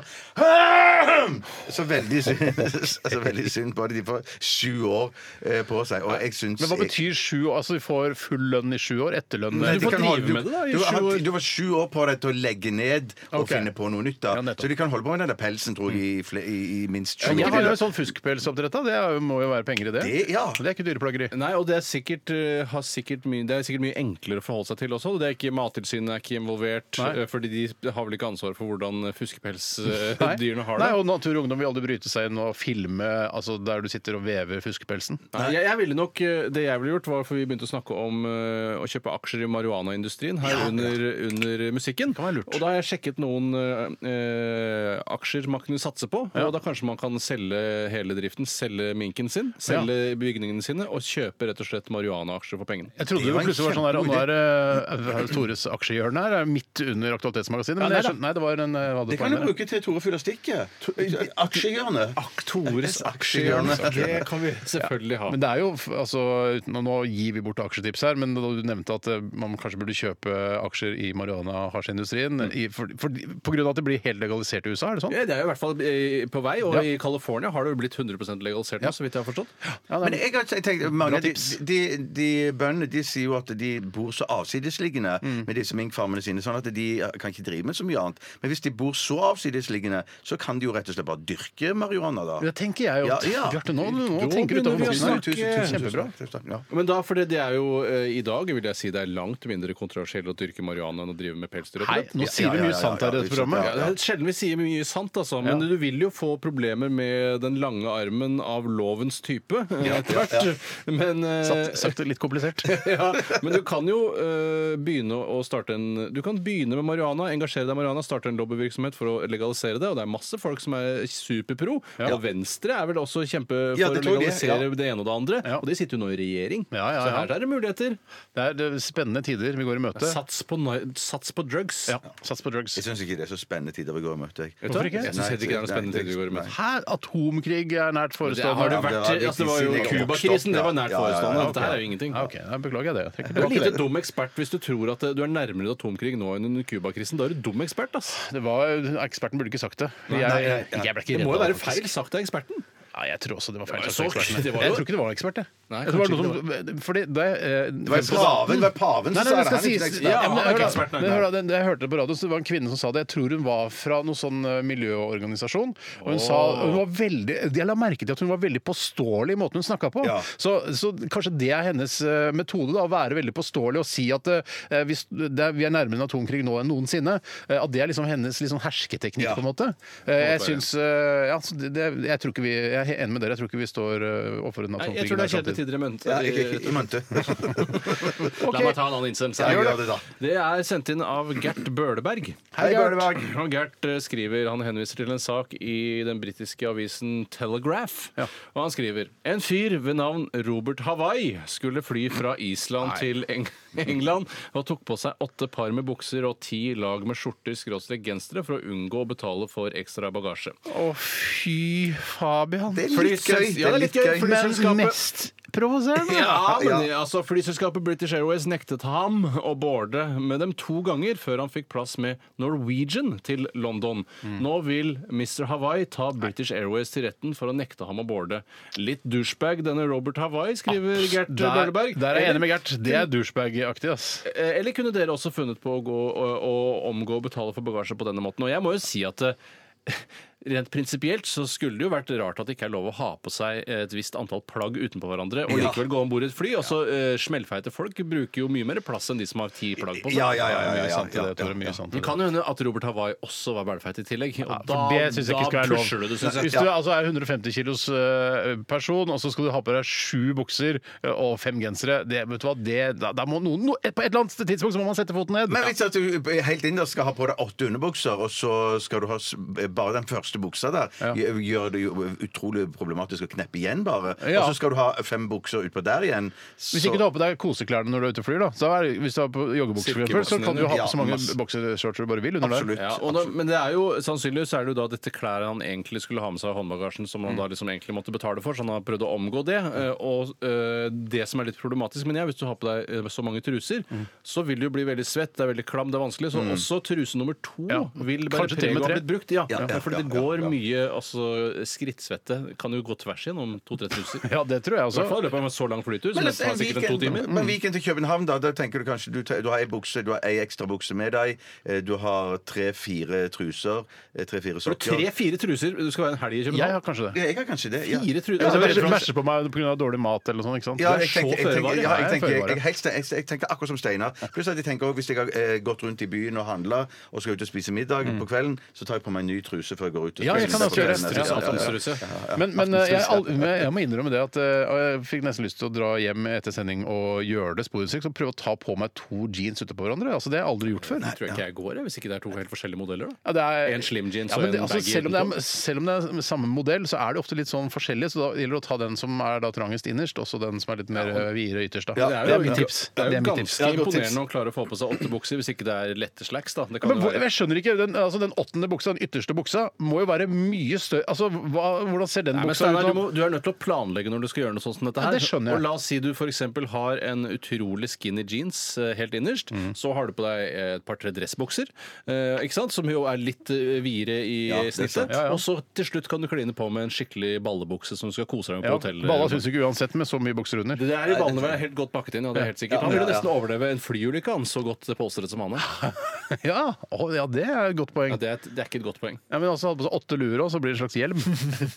Så veldig synd, så veldig synd på det. De får sju år eh, på seg, og jeg syns Men hva betyr sju år? Altså, de får full lønn i sju år? Etterlønn? eh, Nei, Du de får kan drive holde- med det da, i du, sju har- år. du har sju år på deg til å legge ned og Ok. finne på noe nytt. da Ja, nettopp. Så de kan holde på med den der pelsen, tror jeg, i, fle- i, i minst Ja, sju Jeg har jo år. en sånn fuskpelsoppdrett, da. Det er jo- må jo være penger i det. Det- ja. det er ikke dyreplageri. Nei, og det er, sikkert, eh, har sikkert mye, det er sikkert mye enklere å forholde seg til også. Det er ikke Mattilsynet er ikke involvert, Nei. eh, fordi de har vel ikke ansvar for hvordan eh, Nei. fuskepelsdyrene har det. Nei, og Natur og Ungdom vil aldri bryte seg inn og filme altså, der du sitter og vever fuskepelsen. Nei, jeg, jeg ville nok, eh, Det jeg ville gjort, var for vi begynte å snakke om eh, å kjøpe aksjer i marihuanaindustrien her under, under musikken. Og da har jeg sjekket noen eh, eh, aksjer man kunne satse på. Og da kanskje man kan selge hele driften, selge minken sin, selge bygningene sine og kjøpe rett og slett marihuanaaksjer for pengene. Jeg trodde Det det var en plutselig var sånn der, og nå kjempegod er eh, Tores aksjehjørne her, er midt under Aktualitetsmagasinet. Men Ja, nei jeg skjønte, nei, det var en eh, hva Det det kan du var med det. bruke til Tore fyller stikket. Aksjehjørnet. Tores aksjehjørne. Det kan vi selvfølgelig ha. Men det er jo, f- altså, uten å- Nå gir vi bort aksjetips her, men da du nevnte at eh, man kanskje burde kjøpe aksjer i marihuana-hasjindustrien i- for- for- pga. at det blir helt legalisert i USA, er det sånn? Ja, det er jo i hvert fall eh, på vei, og Ja. i California har det jo blitt 100 legalisert nå, så vidt jeg har forstått. Men jeg har tenkt, mange, Bra av de, tips. de, de bøndene de sier jo at de bor så avsidesliggende med disse minkfarmene sine, sånn at de kan ikke drive med så mye annet. Men hvis de bor så avsidesliggende, så kan de jo rett og slett bare dyrke marihuana, da. Det tenker jeg jo. Ja, ja. Bjarte, nå, nå Da tenker du utover begynner vi å boksen. her. snakke. Kjempebra. Tusen takk. Ja. Men da, for det, det er jo eh, i dag vil jeg si det er langt mindre kontroversielt å dyrke marihuana enn å drive med Hei, pelsdyroppdrett. nå sier vi mye sant her i dette Ja, programmet. det er sjelden vi sier mye sant, altså. Men du vil jo få problemer med den lange armen av lovens type eh, etter hvert. Men, eh, Satt- Sakte litt komplisert. ja, men du kan jo eh, begynne å starte en Du kan begynne med marihuana, engasjere deg i marihuana, starte en lobbyvirksomhet for å legalisere det. Og det er masse folk som er superpro. Og Venstre er vel også kjempe for Ja, å det tror jeg de er, legalisere ja. det ene og det andre. Ja. Og de sitter jo nå i regjering. Ja, ja, Så ja. her er det muligheter. Det er det er spennende tider vi går i møte. Sats på, ni- sats på drugs. Ja, sats på drugs. Jeg syns ikke det er så spennende tider vi går i møte. jeg. Vet du hva? Hvorfor ikke? Jeg synes heller ikke det er noen Nei, spennende det- tid vi går i møte. nei. Hæ? Atomkrig er nært Det har forestående. det det vært. har det altså, det var jo siden jeg Cuba-krisen. Det var nært Ja, ja, ja, ja, forestående. ok. Dette her er jo ingenting. Ja, Ah, ok, da beklager jeg det. Jeg tenker Du er tilbake lite til det. dum ekspert hvis du tror at eh, du er nærmere et atomkrig nå enn under Cuba-krisen. Da er du dum ekspert, ass. Det var, eksperten burde ikke sagt det. Jeg, jeg ble ikke Det redd må jo av være faktisk. feil sagt av eksperten. Ja, jeg tror også det var feil. Det var sagt av jo så- ekspertene. det var jo- Jeg tror ikke det var en ekspert, jeg. Nei, jeg tror det var kanskje noe som, fordi det, eh, var jo paven, det var paven som nei, nei, sa det skal det, han er ikke sies. ekspert. Ja, Ja, men han er hør ikke da, ekspert, nei, men nei. hør da, den- Jeg hørte det på radio, så det var en kvinne som sa det. Jeg tror hun var fra noen sånn eh, miljøorganisasjon. Og hun sa og hun var veldig, Jeg la merke til at hun var veldig påståelig i måten hun snakka på. Ja. Så, så kanskje det er hennes eh, metode, da, å være veldig påståelig og si at eh, hvis, det er, vi er nærmere en atomkrig nå enn noensinne. eh, At det er liksom hennes liksom hersketeknikk, Ja. på en måte. Eh, Jeg syns eh, ja, så det, det- Jeg tror ikke vi Jeg er enig med dere, jeg tror ikke vi står eh, overfor en Nei, atomkrig. jeg tror det er i nær fremtid. kjedelige tider i mente. Ja, ikke- ikke- i mønte. La meg ta en annen innsendelse. Ja, gjør det da. Det er sendt inn av Gert Bøhleberg. Hei, Bøhleberg. Og Gert eh, skriver, han henviser til en sak i den britiske avisen Telegraph. Og han skriver En fyr ved navn Robert Hawaii skulle fly fra Island til Eng England og tok på seg åtte par med bukser og ti lag med skjorter, skråstrek gensere for å unngå å betale for ekstra bagasje. Å, fy Fabian. Det er litt gøy. Ja, det er litt gøy. Men Flyselskapet mest provoserende. Ja, men altså, flyselskapet British Airways nektet ham å boarde med dem to ganger før han fikk plass med Norwegian til London. Mm. Nå vil Mr. Hawaii ta British Airways til retten for å nekte ham å boarde. Litt douchebag denne Robert Hawaii, skriver Gert Ah, Der, Dølleberg. der er jeg enig med Gert. Det er douchebag-aktig, ass. Eh, Eller kunne dere også funnet på å, gå, å, å omgå å betale for bagasje på denne måten? Og jeg må jo si at eh, Rent prinsipielt så skulle det jo vært rart at det ikke er lov å ha på seg et visst antall plagg utenpå hverandre, og likevel gå om bord i et fly. Og så eh, smellfeite folk bruker jo mye mer plass enn de som har ti plagg på seg. Ja, ja, ja, ja, ja, Mye ja, sant i ja, det, Tore. ja, Mye ja. sant i Det det. kan jo hende at Robert Hawaii også var bælfeit i tillegg. Og for det synes jeg ikke skal være lov. pusher du det, syns jeg. Hvis du altså er 150 kilos eh, person, og så skal du ha på deg sju bukser eh, og fem gensere, det, vet du hva, det, da, da må noen, no, på et eller annet tidspunkt så må man sette foten ned. Men hvis at du helt innerst skal ha på deg åtte underbukser, og så skal du ha s- bare den første buksa der, gjør det jo utrolig problematisk å kneppe igjen bare. Ja. Og så skal du ha fem bukser utpå der igjen. Så... Hvis ikke du har på deg koseklærne når du er ute og flyr, da, så er, det- hvis du har på joggebukser, for eksempel, så kan du ha Ja, på så mange masse. boksershorts du bare vil under der. Absolutt. Ja, og da, men det er jo sannsynligvis er det jo da dette klær han egentlig skulle ha med seg i håndbagasjen, som han da liksom egentlig måtte betale for, så han har prøvd å omgå det. Eh, Og eh, det som er litt problematisk, mener jeg, hvis du har på deg eh, så mange truser, så vil du jo bli veldig svett, det er veldig klam, det er vanskelig. Så også truse nummer to Mm. Ja. vil bære Kanskje til og preg med av å ha tre. blitt brukt. Ja, Ja, ja, for det ja, går ja, ja. mye altså, skrittsvette. Kan jo gå tvers igjennom to-tre truser. I Ja, det tror jeg hvert også. fall i løpet av en så lang flytur, som Men tar en sikkert en to timer. weekend, Mm. men weekend til København, da, da tenker du kanskje du, te- du har ei bukse, du har ei ekstra bukse med deg, eh, du har tre-fire truser, eh, tre-fire Så sokker. Tre-fire truser, du skal være en helg i Jeg København. har kanskje Ja, det. jeg har kanskje det. Ja. Fire truser? Ja, Ja, så det er bæsjer- redd for- bæsjer på meg pga. dårlig mat eller noe sånt, ikke sant? Ja, Det er jeg tenker, så jeg, tenker, føre var, ja, jeg, Jeg er tenker, jeg, føre var, jeg, helst- jeg, jeg tenker akkurat som Steinar. Pluss at jeg tenker også, Hvis jeg har eh, gått rundt i byen og handla og skal ut og spise middag på kvelden, så tar jeg på meg en ny truse før jeg går ut. og Mm. Ja, jeg spiser kan middag også gjøre på det. kvelden. Ja, ja, ja. Aftenstruse. Men, men eh, jeg, al- men jeg må innrømme det at eh, og jeg fikk nesten lyst til å dra hjem etter sending og gjøre det sporutstrekt og prøve å ta på meg to jeans utapå hverandre. Altså, det har jeg aldri gjort før. tror jeg ikke jeg går, jeg, hvis ikke det er to helt forskjellige modeller. Da. Ja, det er- En slim jeans ja, men og det, en altså, baggy selv om, det utenpå. er, selv om det er samme modell, så er det ofte litt sånn forskjellig. Så da gjelder det å ta den som er da trangest innerst, også den som er litt mer eh, videre ytterst. Da. jo- det er mitt tips. Det er jo mitt ganske tips. imponerende å klare å få på seg åtte bukser hvis ikke det er lette slacks. da. Det kan Men jo hvor, være. jeg skjønner ikke, den, altså den åttende buksa, den ytterste buksa må jo være mye større Altså, hva, hvordan ser den Nei, men buksa Steinar, ut? du, nå? må, du er nødt til å planlegge når du skal gjøre noe sånt som dette Ja, her. det skjønner jeg. Og la oss si du f.eks. har en utrolig skinny jeans eh, helt innerst. Mm. Så har du på deg et par-tre dressbukser, eh, ikke sant? som jo er litt eh, videre i det er sant. snittet. Ja, ja. Og så til slutt kan du kline på med en skikkelig ballebukse som du skal kose deg med Ja, på hotellet. Balla syns ikke uansett med så mye bukser under. det er i ballene være helt godt pakket inn. Ja, det er helt sikkert. Han ville nesten overleve en flyulykke, han, så godt påstått som han er. Ja, å, ja det er et godt poeng. Ja, det, er et, det er ikke et godt poeng. Ja, men altså, hadde på seg åtte luer og så blir det en slags hjelm.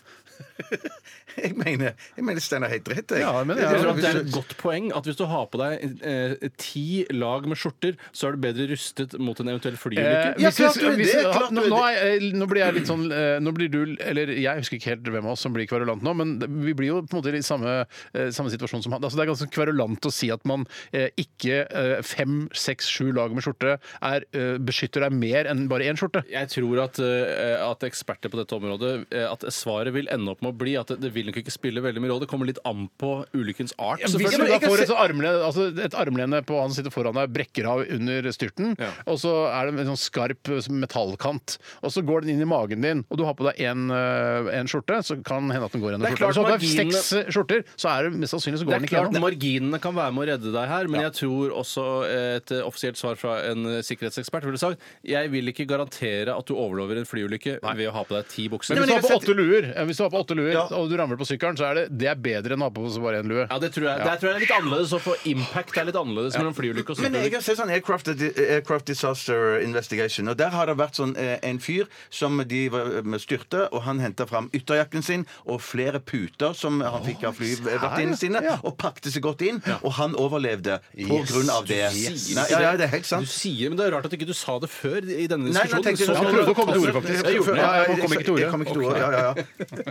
Jeg mener, jeg mener Steinar har helt rett. jeg. Ja, jeg mener, Jeg Jeg tror tror ja. at det er et godt poeng at hvis du har på deg eh, ti lag med skjorter, så er du bedre rustet mot en eventuell flyulykke. Eh, hvis- Ja, klart du er hvis- det, ja, klart du Nå er nå er jeg- nå blir jeg litt sånn eh, Nå blir du, eller jeg husker ikke helt hvem av oss som blir kverulant nå, men vi blir jo på en måte i samme, eh, samme situasjon som han. Altså, det er ganske kverulant å si at man eh, ikke eh, fem, seks, sju lag med skjorte er, eh, beskytter deg mer enn bare én skjorte. Jeg tror at, eh, at eksperter på dette området eh, At svaret vil ende opp med å bli at det, det vil nok ikke spille veldig mye råd. Det kommer litt an på ulykkens art. Hvis selvfølgelig. du da kan får se- et, sånn armlene, altså et armlene på han som sitter foran deg, brekker av under styrten, Ja. og så er det en sånn skarp metallkant, og så går den inn i magen din, og du har på deg en, øh, en skjorte, så kan hende at den går gjennom Det skjorta. er klart Hvis du har på deg marginene- seks øh, skjorter, så er det mest sannsynlig så Det går er den ikke klart gjennom. Marginene kan være med å redde deg her, men jeg tror også et eh, offisielt svar fra en eh, sikkerhetsekspert ville sagt jeg vil ikke garantere at du overlever en flyulykke ved å ha på deg ti bukser. Men hvis du har på jeg åtte luer, eh, hvis du har på åtte luer og du ramler på sykkelen, så er det, det er bedre enn å ha på seg bare én lue. Ja, det tror jeg, det tror jeg er litt annerledes. Og for impact er litt annerledes mellom flyulykke og Men jeg sykkelulykke. har sett sånn Aircraft, Aircraft Disaster Investigation, og der har det vært sånn eh, en fyr som de var- eh, styrte, og han henta fram ytterjakken sin og flere puter som han fikk av flyvertinnene sine, og pakte seg godt inn, og han overlevde på grunn av det. Nei, ja, ja, det er helt Du sant. sier, men Det er rart at ikke du sa det før i denne Nei, nei, diskusjonen. tenkte jeg- Så- Han prøvde å komme til orde, faktisk. Jeg gjorde det. Ja, ja, han kom ikke til orde. Jeg kom ikke til orde, ja, ja, ja.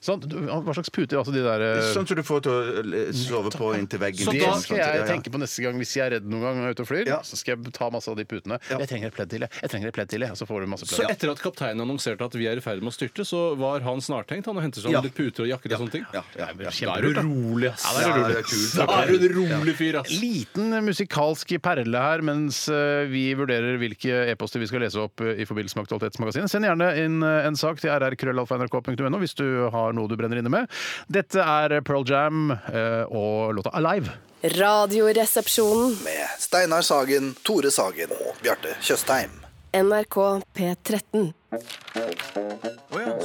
Sant? Du- hva slags puter, altså de der øh, Sånn som du får til å eh, sove på inntil veggen. Så Sånn, da sånn, skal sånn, ja, jeg ja. tenke på neste gang hvis jeg er redd noen gang og er ute og flyr, Ja. så skal jeg ta masse av de putene. Jeg trenger et pledd til, jeg. Jeg trenger et pledd til, jeg. Og så får du masse Så pledd. etter at kapteinen annonserte at vi er i ferd med å styrte, så var han snartenkt. Han hentet seg Ja. litt puter og jakker og sånne ting. Ja, ja, ja. Da er du rolig, ass. Ja, det er kult. Da er du en rolig fyr, ass. Liten musikalsk perle her mens eh, vi vurderer hvilke e-poster vi skal lese opp eh, i forbindelse med Aktualitetsmagasinet. Send gjerne inn eh, en sak til rrkrøllalfa.nrk.no hvis du har noe du brenner inne med. Dette er Pearl Jam eh, og låta 'Alive'. Radioresepsjonen. Med Steinar Sagen, Tore Sagen og Bjarte Tjøstheim. NRK P13.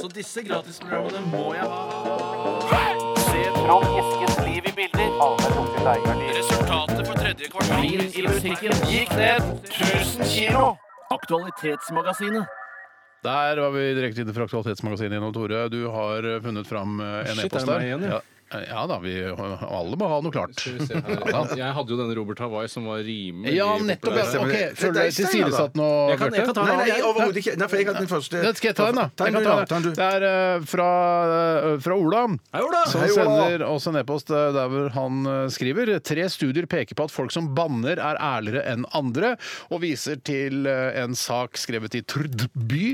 Så disse gratisprogrammene må jeg ha. Se Trond Eskens liv i bilder. Resultatet for tredje kvartal i musikken gikk ned 1000 kilo. Aktualitetsmagasinet. Der var vi direkte inne fra Aktualitetsmagasinet igjen, og Tore. Du har eh, funnet fram eh, en Shit, e-post er det der. meg igjen, ja? ja. ja da, vi eh, alle må ha noe klart. Jeg hadde jo denne Robert Hawaii som var rimelig Ja, nettopp. Ja. populær. Ok, Dette er Føler du deg Steinar, da. tilsidesatt nå, Jeg kan- jeg kan ta Bjarte? den. Nei, nei, overhodet ikke. Nei, for jeg hadde den første. Det skal jeg ta en, da. Ta Jeg den, kan du, ta ja. Ta den. den, du. Det er eh, fra, eh, fra Ola. Hei, Ola! Som sender oss en e-post eh, der hvor han eh, skriver Tre studier peker på at folk som banner er ærligere enn andre, og viser til eh, en sak skrevet i Trd by.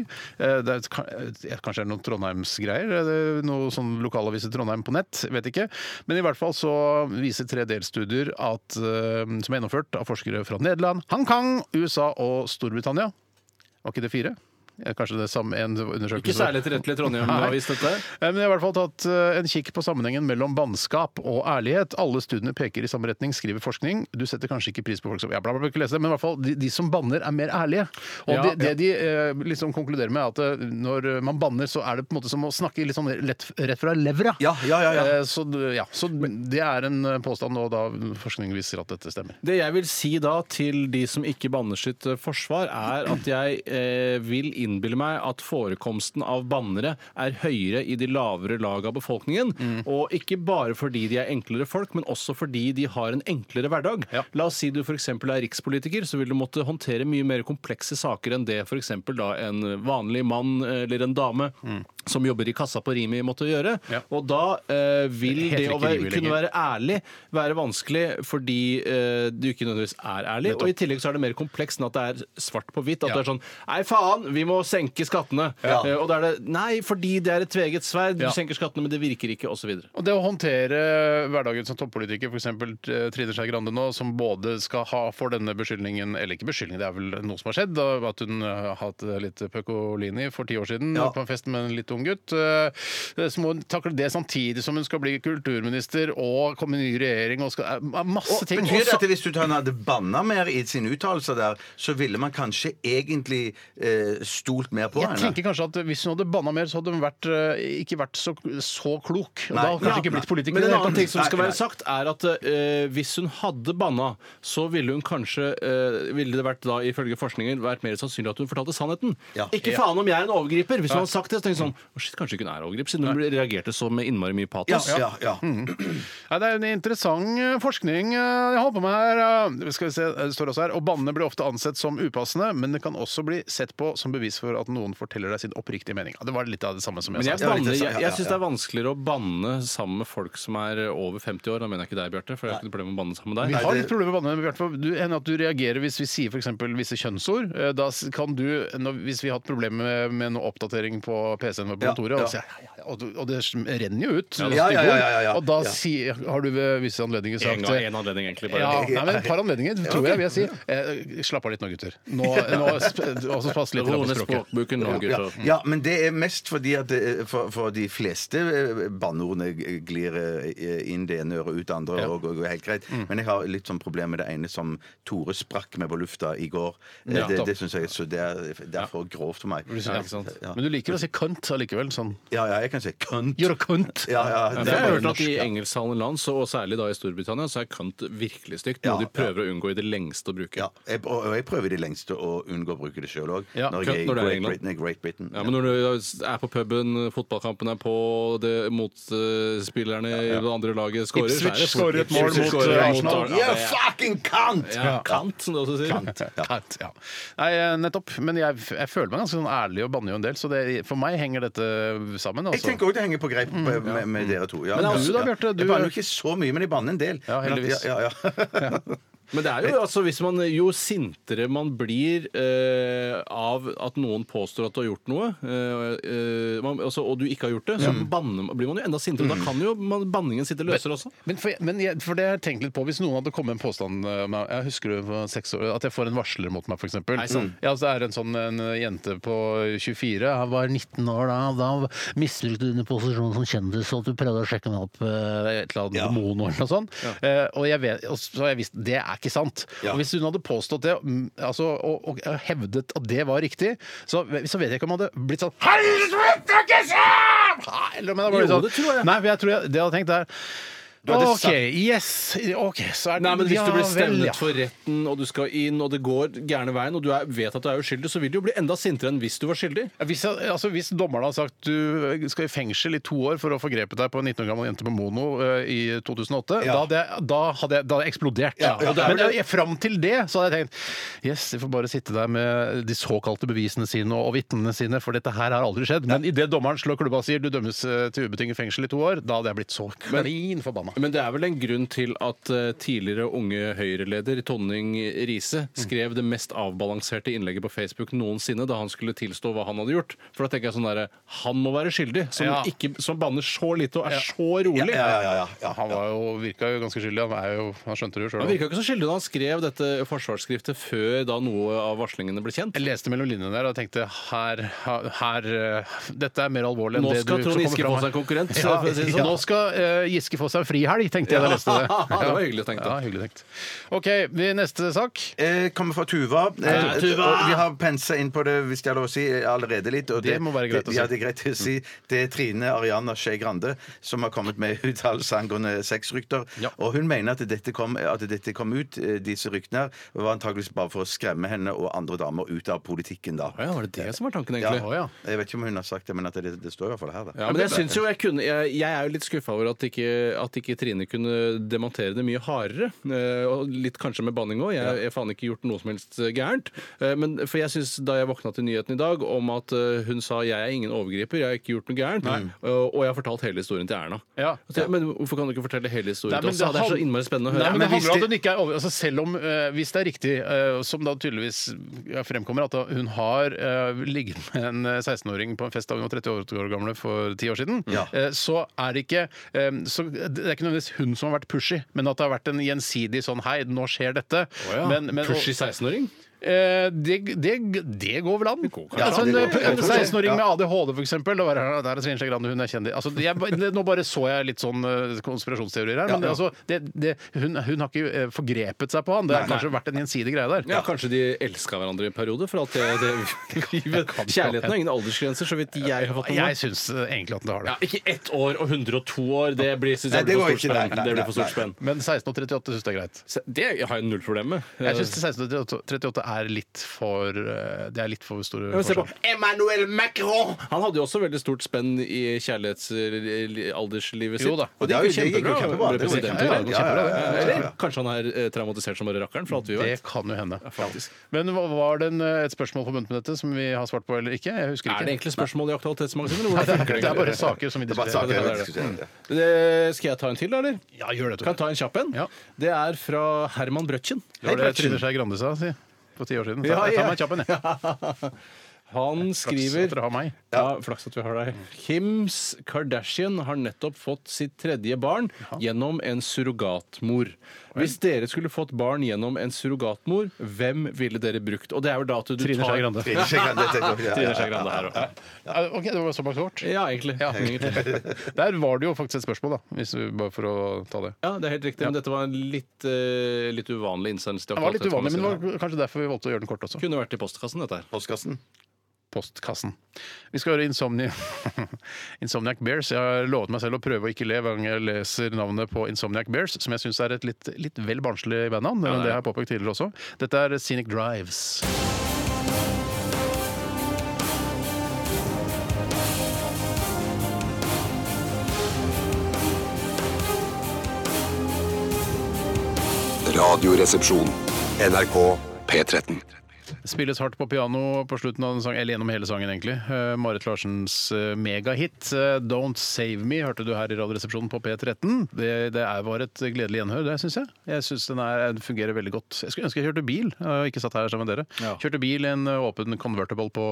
Eh, Det er, et- eh, kanskje det er noen Trondheimsgreier? eh, Noe sånn lokalavis i Trondheim på nett? Vet ikke. Men i hvert fall så viser tre delstudier at, eh, som er gjennomført av forskere fra Nederland, Hongkong, USA og Storbritannia. Var ikke det fire? Eh, Kanskje det er samme en undersøkelse Ikke særlig tilrettelig Trondheim-avis, dette. Eh, Men jeg har i hvert fall tatt eh, en kikk på sammenhengen mellom bannskap og ærlighet. Alle studiene peker i samme retning, skriver forskning. Du setter kanskje ikke pris på folk som ja, bla, bla, bla, ikke lese det, men i hvert fall de, de som banner, er mer ærlige. Og Ja, det, det de eh, liksom konkluderer med, er at eh, når man banner, så er det på en måte som å snakke litt sånn lett, rett fra levra. Ja, ja, ja, ja. Eh, Så, du- ja, så det er en eh, påstand, og da forskning viser at dette stemmer. Det jeg vil si da til de som ikke banner sitt eh, forsvar, er at jeg eh, vil innbille meg at forekomsten av bannere er høyere i de lavere lag av befolkningen. Mm. Og ikke bare fordi de er enklere folk, men også fordi de har en enklere hverdag. Ja. La oss si du f.eks. er rikspolitiker, så vil du måtte håndtere mye mer komplekse saker enn det f.eks. da en vanlig mann eller en dame som jobber i kassa på Rimi måtte gjøre. Mm. Ja. Og da eh, vil Det heter det å ikke være, Rimi kunne lenger. være ærlig være vanskelig fordi eh, du ikke nødvendigvis er ærlig. Og i tillegg så er det mer komplekst enn at det er svart på hvitt. At Ja. det er sånn Nei, faen, vi må senke skattene. Ja. Eh, og da er det Nei, fordi det er et tveget sverd. Ja. Du senker skattene, men det virker ikke, osv. Og det å håndtere hverdagen som toppolitiker, f.eks. Trine Skei Grande nå, som både skal ha for denne beskyldningen, eller ikke beskyldning, det er vel noe som har skjedd, da, at hun eh, har hatt litt pøkolini for ti år siden Ja. på en fest med en litt ung gutt. eh, Så må hun takle det samtidig som hun skal bli kulturminister og komme i ny regjering og skal eh, Masse Og ting. Betyr det Også- at hvis du han hadde banna mer i sine uttalelser der, så ville man kanskje egentlig eh, stolt mer på Jeg tenker kanskje at Hvis hun hadde banna mer, så hadde hun vært, eh, ikke vært så, så klok. Og da hadde hun kanskje Ja. ikke blitt politiker. i Men det en hele annen tatt. ting som skal Nei, være nei. sagt, er at eh, hvis hun hadde banna, så ville hun kanskje eh, Ville det vært da, ifølge forskningen, vært mer sannsynlig at hun fortalte sannheten. Ja. Ikke faen om jeg er en overgriper! Hvis hun hadde sagt det, så tenkte jeg sånn «Å, shit, Kanskje ikke hun er overgrip, siden hun reagerte så med innmari mye Ja, patos. ja, ja. Mm. Nei, Det er en interessant eh, forskning eh, jeg holder på med her. eh. Skal vi se, det står også her. Og bannene blir ofte ansett som upassende, men det kan også bli sett på som bevis for at noen forteller deg sin oppriktige mening. Ja, Det var litt av det samme som Men jeg jeg, sa. Ja, litt banner- det sa- jeg, ja, ja, jeg syns det er ja. vanskeligere å banne sammen med folk som er over 50 år. Da mener jeg ikke deg, Bjarte, for jeg har ikke noe problem med å banne sammen med Vi deg. har litt problemer med banne, men Bjarte, for du, enn at du reagerer hvis vi sier f.eks. visse kjønnsord. Eh, Da s- kan du, når, hvis vi har hatt problemer med, med noe oppdatering på PC-en vår på Ja, kontoret, ja. og, sier jeg, ja, ja, og, du- og det sm- renner jo ut, ja, ja, ja, styggord, ja, ja. og da Ja. sier- har du ved visse anledninger sagt eh, En gang, en anledning, egentlig. Bare. Ja, nei, men Et par anledninger, tror jeg, vil jeg si. Eh, slapp av litt nå, gutter. Nå, nå sp- også pass litt Ro på ned språket. språkboken nå, Ja, gutter. ja, men det er mest fordi at eh, for, for de fleste eh, banneordene glir eh, inn det ene øret ut det andre, og og er helt greit. Mm. Men jeg har litt sånn problem med det ene som Tore sprakk med på lufta i går. Eh, Ja, det topp. det syns jeg så det er, det er for grovt for meg. Ja, ikke sant? Men du liker å si cunt allikevel. Sånn Ja, ja, jeg kan si kønt. You're a cunt! Ja, ja, det Ja, for jeg er har bare hørt at norsk, I ja. engelsktalende land, så, og særlig da i Storbritannia, så er cunt virkelig stygt. Noe Ja, de prøver å unngå i det lengste å bruke. Ja, Ja. jeg, og og jeg prøver i det lengste å unngå å bruke det sjøl òg. Ja, når kønt jeg er i når det er i Great England. Britain. er Great Britain. men Når du er på puben, fotballkampen er på, det- motspillerne i det andre laget scorer så er det Ipswich fort- skårer et mål Ipswich mot, scorer eh, mot Arsenal. Ja, You're det er- fucking cunt! ja, Kant, som du også sier. Ja. Cunt, ja. Nei, eh, nettopp. Men jeg, jeg føler meg ganske sånn ærlig og banner jo en del, så det, for meg henger dette sammen. Jeg Altså. tenker òg det henger på greip med, med, med dere to. Ja. Men altså, Ja. da, Bjarte, du- Jeg banner jo ikke så mye, men jeg banner en del. Ja, heldigvis. Men at- ja, ja, ja. Men det er jo altså hvis man Jo sintere man blir eh, av at noen påstår at du har gjort noe, eh, eh, man, altså, og du ikke har gjort det, så banner, blir man jo enda sintere. Da kan jo man, banningen sitte løsere også. Men for, men jeg, for det har jeg tenkt litt på Hvis noen hadde kommet med en påstand eh, om meg- Jeg husker det var seks år, at jeg får en varsler mot meg, f.eks. sant. Ja, så er det en sånn en jente på 24. Jeg var 19 år da. Da misbrukte du din posisjon som kjendis, og at du prøvde å sjekke meg opp eh, et eller annet mono eller noe sånt. Eh, og, jeg vet, og så har jeg visst det er ikke sant. Ja. Og hvis hun hadde påstått det, mm, altså, og, og hevdet at det var riktig, så, så vet jeg ikke om jeg hadde blitt sånn Helvete, ikke sant! Nei, Eller om jeg hadde blitt Jo, sånn det tror jeg. Nei, for jeg tror jeg, det jeg hadde tenkt, er hadde OK, yes. OK, så er det Nei, men Hvis Ja du blir vel, stevnet ja. for retten, og du skal inn, og det går gærne veien, og du er, vet at du er uskyldig, så vil du jo bli enda sintere enn hvis du var skyldig. Ja, hvis, jeg- altså, hvis dommerne har sagt du skal i fengsel i to år for å få grepet deg på en 19 år gammel jente på mono eh, i 2008, da, Ja. hadde jeg, da, hadde jeg, da hadde jeg eksplodert. Ja, ja, Og det er Men vel- jeg, fram til det så hadde jeg tenkt yes, vi får bare sitte der med de såkalte bevisene sine og, og vitnene sine, for dette her har aldri skjedd. Men idet dommeren slår klubba og sier du dømmes eh, til ubetinget fengsel i to år, da hadde jeg blitt så klin forbanna. Men det er vel en grunn til at eh, tidligere unge Høyre-leder Tonning Riise skrev det mest avbalanserte innlegget på Facebook noensinne da han skulle tilstå hva han hadde gjort. For da tenker jeg sånn derre Han må være skyldig, som, Ja. ikke, som banner så lite og er så rolig. ja, ja, ja, ja, ja. Han var jo, virka jo ganske skyldig. Han, er jo, han skjønte det jo Han sjøl. virka ikke så skyldig da han skrev dette forsvarsskriftet før da noe av varslingene ble kjent. Jeg leste mellom linjene der og tenkte her, her, eh, Dette er mer alvorlig enn Nå det du skal Trond kommer Giske fram få her. seg en konkurrent. Ja, for å si det så sånn. nå skal eh, Giske få seg en frihelg, tenkte jeg da jeg leste det. Ja, det var hyggelig tenkt, da. Ja, hyggelig tenkt. OK, vi, neste sak. Eh, kommer fra Tuva. Eh, Ja, Tuva! og Vi har pensa inn på det hvis det er lov å si, eh, allerede litt. og Det må være greit å si. Ja, det er greit å si. Det er Trine Ariana Skei Grande som har kommet med uttalelse angående sexrykter. Ja. Og hun mener at dette, kom, at dette kom ut, eh, disse ryktene, her, var antakeligvis bare for å skremme henne og andre damer ut av politikken da. Å ja, var det det som var tanken, Ja. egentlig? ja. Jeg vet ikke om hun har sagt det, men at det, det står i hvert fall her. da. Ja, men jeg synes jo jeg kunne Jeg, jeg er jo litt skuffa over at ikke, at ikke ikke Trine kunne demontere det mye hardere. eh, Og litt kanskje med banning òg. Jeg har faen ikke gjort noe som helst gærent. Eh, Men for jeg synes da jeg våkna til nyheten i dag om at eh, hun sa 'jeg er ingen overgriper', 'jeg har ikke gjort noe gærent', eh, og jeg har fortalt hele historien til Erna. Ja. Så jeg, Men hvorfor kan du ikke fortelle hele historien Nei, men til oss? da? det Det er så han- innmari spennende å høre. Nei, men det hvis handler om de- at hun ikke er over... Altså, selv om, eh, hvis det er riktig, eh, som da tydeligvis ja, fremkommer, at da hun har eh, ligget med en eh, 16-åring på en fest da hun var 30 år gamle for 10 år siden, Ja. eh, så er det ikke eh, så, Det er ikke nødvendigvis hun som har vært pushy, men at det har vært en gjensidig sånn Hei, nå skjer dette. Men- men- Pushy 16-åring? Eh, det, det, det går vel an. altså, en det går. en Jeg tror det. 16-åring med ADHD, for eksempel. Det var, der er Svein Skei Grande, hun er kjendis. Altså, jeg, det- nå bare så jeg litt sånn eh, konspirasjonsteorier her. Men Ja, ja. Altså, det, det, hun, hun har ikke eh, forgrepet seg på han. Det har kanskje vært en gjensidig greie der. Ja, Kanskje de elska hverandre i en periode? For alt det, det, Kjærligheten har ingen aldersgrenser, så vidt jeg har fått med Jeg meg. syns eh, egentlig at den har det. Ja, ikke ett år og 102 år. Det blir, synes Nei, det jeg, blir for går stort ikke. Nei, spenn. nei, Det blir nei, for nei. stort spenn. Men 16 og 38 syns det er greit. Så Det har jeg null problem med. Jeg syns 16 og 38 38 er litt for eh, Det er litt for store Men se på forskjell. Emmanuel Macron! Han hadde jo også veldig stort spenn i kjærlighetsalderslivet sitt. Jo da. Og det Ja, gikk jo det gikk jo kjempebra. kjempebra. Ble Det gikk president. kjempebra. Ja, det gikk Ja, ja, kjempebra. ja, ja, ja. Eller kanskje han er eh, traumatisert som bare rakkeren, for alt vi Det vet. kan jo hende. Men hva- var det en, eh, et spørsmål forbundet med dette som vi har svart på eller ikke? Jeg husker ikke. Er det egentlig spørsmål i Aktualitetsmagasinet? eller Nei, hvordan det, funker er, det det er bare egentlig? saker som vi Det er bare diskuterer. saker Ja, det er jeg det. diskuterer. Det- Skal jeg ta en til, da, eller? Ja, gjør det, Kan jeg ta en kjapp en? Ja. Det er fra Herman Brøtjen. Det var det Trine Skei Grande sa si, for ti år siden. Ta, Ja, ja. ta meg kjapp en, jeg. Han Flaks at skriver dere har meg. Ja, flaks at vi har deg. Kims Kardashian har nettopp fått sitt tredje barn gjennom en surrogatmor. Hvis dere skulle fått barn gjennom en surrogatmor, hvem ville dere brukt? Og det er jo da at du Trine tar Skei Grande. Trine Skei Grande, det tenker jeg. Trine Skei Grande her også. Ja, OK, det var såpass kort. Ja, egentlig. Ja. Egentlig. Der var det jo faktisk et spørsmål, da. Hvis vi, bare for å ta det. Ja, det er helt riktig. Men dette var en litt, eh, litt uvanlig innsendelse. til Det var litt uvanlig, men det Aktualitetsmagasinet. var kanskje derfor vi valgte å gjøre den kort også. Kunne vært i postkassen, dette her. Postkassen. Postkassen. Vi skal høre Insomni Insomniac Bears. Jeg har lovet meg selv å prøve å ikke le hver gang jeg leser navnet på Insomniac Bears, som jeg syns er et litt, litt vel barnslig bandnavn. men det har jeg påpekt tidligere også. Dette er Scenic Drives. Radioresepsjon. NRK P13. Spilles hardt på piano på slutten av den sangen, eller gjennom hele sangen, egentlig. Eh, Marit Larsens eh, megahit eh, 'Don't Save Me' hørte du her i Radioresepsjonen på P13. Det, det er, var et gledelig gjenhør, det syns jeg. Jeg syns den, er- den fungerer veldig godt. Jeg skulle ønske jeg kjørte bil, eh, og ikke satt her sammen med dere. Ja. Kjørte bil i en eh, åpen convertible på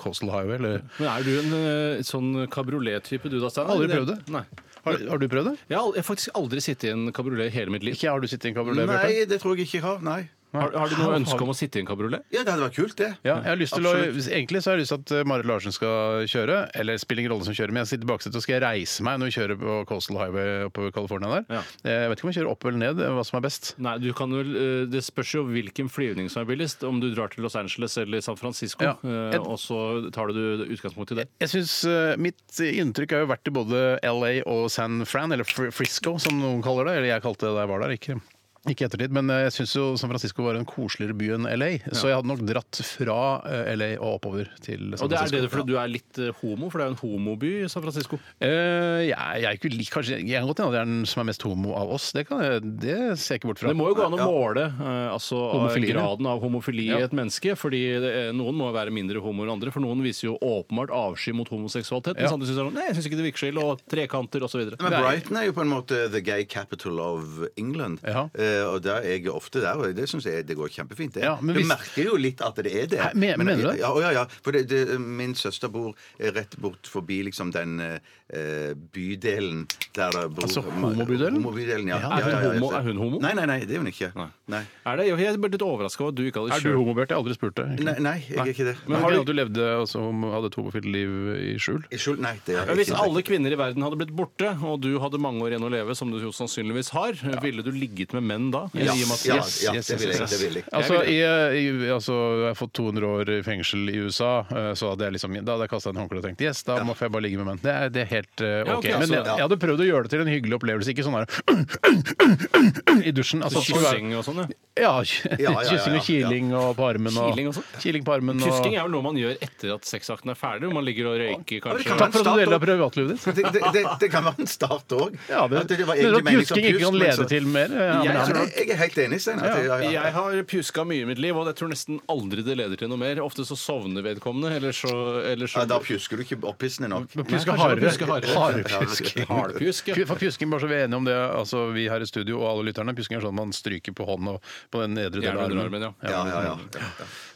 Coastal Highway, eller Men er du en eh, sånn kabriolet-type, du da, Steinar? Aldri Eller- prøvd det. Nei. Har, har du prøvd det? Jeg har al- jeg har faktisk aldri sittet i en kabriolet i hele mitt liv. Ikke har du sittet i en kabriolet? Bjarte? Nei, det tror jeg ikke jeg har. Nei. Har, har du noe ønske om å sitte i en kabriolet? Ja, det hadde vært kult, det. Ja, jeg har lyst til å, egentlig så har jeg lyst til at eh, Marit Larsen skal kjøre, eller spiller ingen rolle som kjører, men jeg sitter i baksetet og skal jeg reise meg når vi kjører på Coastal Highway oppover California der. Ja. Eh, Jeg vet ikke om jeg kjører opp eller ned, eh, hva som er best. Nei, du kan vel, eh, Det spørs jo hvilken flyvning som er billigst. Om du drar til Los Angeles eller San Francisco, Ja. eh, Et- og så tar du utgangspunkt i det. Jeg synes eh, Mitt inntrykk har jo vært i både LA og San Fran, eller Fr- Frisco som noen kaller det. Eller jeg kalte det da jeg var der. ikke ikke i ettertid, men eh, jeg syns San Francisco var en koseligere by enn LA. Så jeg hadde nok dratt fra eh, LA og oppover til San Og det er Francisco. det fordi du er litt eh, homo, for det er jo en homoby i San Francisco. Eh, jeg, jeg er ikke lik, kanskje, jeg kan godt hende at jeg er den som er mest homo av oss. Det, kan jeg, det ser jeg ikke bort fra. Det må jo gå an å måle eh, altså, Homofili, ja. graden av homofili i Ja. et menneske. fordi det, er- Noen må være mindre homo enn andre, for noen viser jo åpenbart avsky mot homoseksualitet. Men Ja. samtidig synes de sånn, nei, jeg syns ikke det virker så ille, og trekanter osv. Men Brighton er jo på en måte the gay capital of England. Ja. Eh, og der er jeg ofte der, og det syns jeg det går kjempefint. Det. Ja, men hvis- Du merker jo litt at det er det. Hæ, men- mener du det? Ja, ja, ja. For det, det, min søster bor eh, rett bort forbi liksom den eh, eh, bydelen der det bor Altså, homobydelen? Homobydelen, ja. Ja, Ja, er hun ja, ja, ja. homo- er hun homo? Nei, nei, nei, det er hun ikke. Nei. Nei, nei, Er det? Jeg ble litt overraska over at du ikke hadde Er du homo, Bjarte? Jeg har aldri spurt deg. egentlig. nei, jeg er ikke det. Men har Nei. du, du levde altså, om- hadde et homofilt liv i skjul? I skjul- Nei, det er Ja, jeg Hvis ikke. alle kvinner i verden hadde blitt borte, og du hadde mange år igjen å leve, som du jo sannsynligvis har, ville du ligget med menn menn da? Ja, Eller i og med at- ja, Yes, ja, yes, det vil yes, jeg. yes. Det vil jeg. Altså, i, i, altså, jeg har fått 200 år i fengsel i USA, eh, så hadde jeg liksom, da hadde jeg kasta en håndkle og tenkt yes, da må får jeg bare ligge med menn. Det er, det er helt eh, OK. Ja, ok, altså, Men jeg, ja. jeg hadde prøvd å gjøre det til en hyggelig opplevelse, ikke sånn der i dusjen. Altså, det skulle være- Kyssing og sånn, ja. ja, ja, ja, kyssing ja. og kiling og på armen. Og, Kiling også? Kiling på armen og Kusking er vel noe man gjør etter at sexakten er ferdig? Hvor man ligger og røyker, kan kanskje? man- Takk for at du deler av privatlivet ditt. Det, det, det, det kan være en start òg. Ja, det, det, at kusking ikke kan lede til mer. Ja, men, Jeg, jeg er helt enig, Steinar. at- ja, ja, ja. Jeg har pjuska mye i mitt liv, og jeg tror nesten aldri det leder til noe mer. Ofte så sovner vedkommende, eller så, eller så Ja, Da pjusker du ikke opphissende nok. Pjuske kanskje hardere. pjuske hardere. Hardpjusk. Hardpjusk, ja. Pju- For pjusking, bare så vi er enige om det, altså vi her i studio og alle lytterne, pjusking er sånn man stryker på hånden og på den nedre delen av Gjerne under armen. armen, ja. Ja, ja, ja.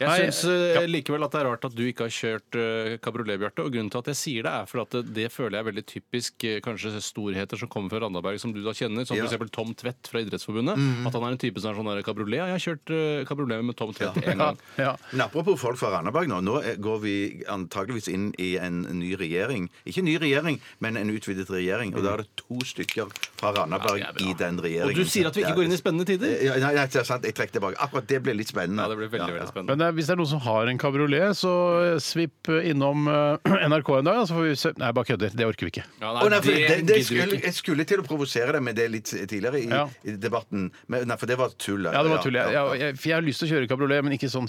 ja. Nei, Jeg syns eh, likevel at det er rart at du ikke har kjørt eh, kabriolet, Bjarte. Og grunnen til at jeg sier det, er for at det, det føler jeg er veldig typisk eh, kanskje storheter som kommer fra Randaberg, som du da kjenner. Som Ja. Mhm. for f.eks. Tom Tvedt fra Idrettsforbundet. At han er en type som er sånn der kabriolet. Ja, jeg har kjørt eh, kabriolet med Tom Tvedt en gang. Ja. Men apropos folk fra Randaberg nå. Nå eh, går vi antageligvis inn i en ny regjering. Ikke en ny regjering, men en utvidet regjering. Og da er det to stykker fra Randaberg Ja, det er bra. i den regjeringen. Og du sier at vi ikke går inn i spennende tider? ja, Nei, nei, det er sant. Jeg trekker tilbake. Akkurat det ble litt spennende. Ja, det blir veldig, veldig spennende. Men det er, hvis det er noen som har en kabriolet, så eh, svipp innom eh, NRK en dag, ja, så får vi se. Nei, bare kødder. Det orker vi ikke. Ja, Å, nei, for det, det gidder du skulle, ikke. jeg skulle til å provosere deg med det litt tidligere i, Ja. i debatten. Men, nei, for det var tull. Ja, det var tull. Jeg, jeg, jeg, for jeg har lyst til å kjøre kabriolet, men ikke sånn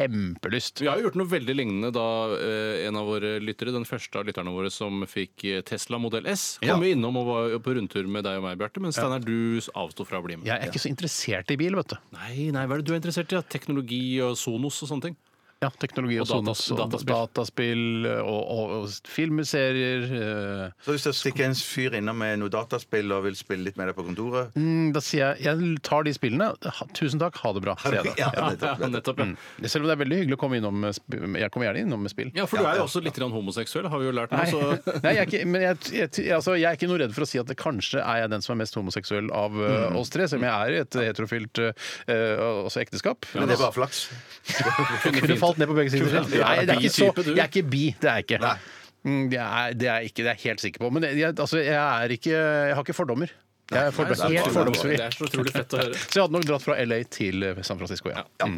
kjempelyst. Vi har jo gjort noe veldig lignende da eh, en av våre lyttere, den første av lytterne våre som fikk eh, Tesla modell S, kom jo innom og var på rundtur med deg og meg, Bjarte. Men Steinar, du avsto fra å bli med. Jeg er ikke så interessert i bil, vet du. Nei, nei, hva er det du er interessert i? da? Teknologi og Sonos og sånne ting? Ja, teknologi og, Og data- Sonos og dataspill. dataspill og, og, og filmer, serier eh, Så hvis det stikker en fyr innom med noe dataspill og vil spille litt med deg på kontoret Mm, Da sier jeg jeg tar de spillene. Ha- Tusen takk, ha det bra. Sier jeg da. Ja, nettopp. Ja, nettopp, ja. Selv om det er veldig hyggelig å komme innom med sp- Jeg kommer gjerne innom med spill. Ja, for du er jo også litt grann homoseksuell, har vi jo lært nå. Nei, Så Nei jeg, er ikke, men jeg, jeg, altså, jeg er ikke noe redd for å si at det kanskje er jeg den som er mest homoseksuell av eh, oss tre, selv om jeg er i et heterofilt eh, eh, også ekteskap. Men det er bare flaks. Kunne falt ned på begge sider. Du er Nei, det er ikke så, bi-type, du. jeg er ikke bi, det er jeg ikke. Mm, Det er, det er jeg ikke, det er jeg helt sikker på. Men jeg, altså, jeg, er ikke, jeg har ikke fordommer. Jeg er fordom, Nei, det er helt så- fordomsfri. Det er så utrolig fett å høre. Så jeg hadde nok dratt fra LA til eh, San Francisco, ja. Mm.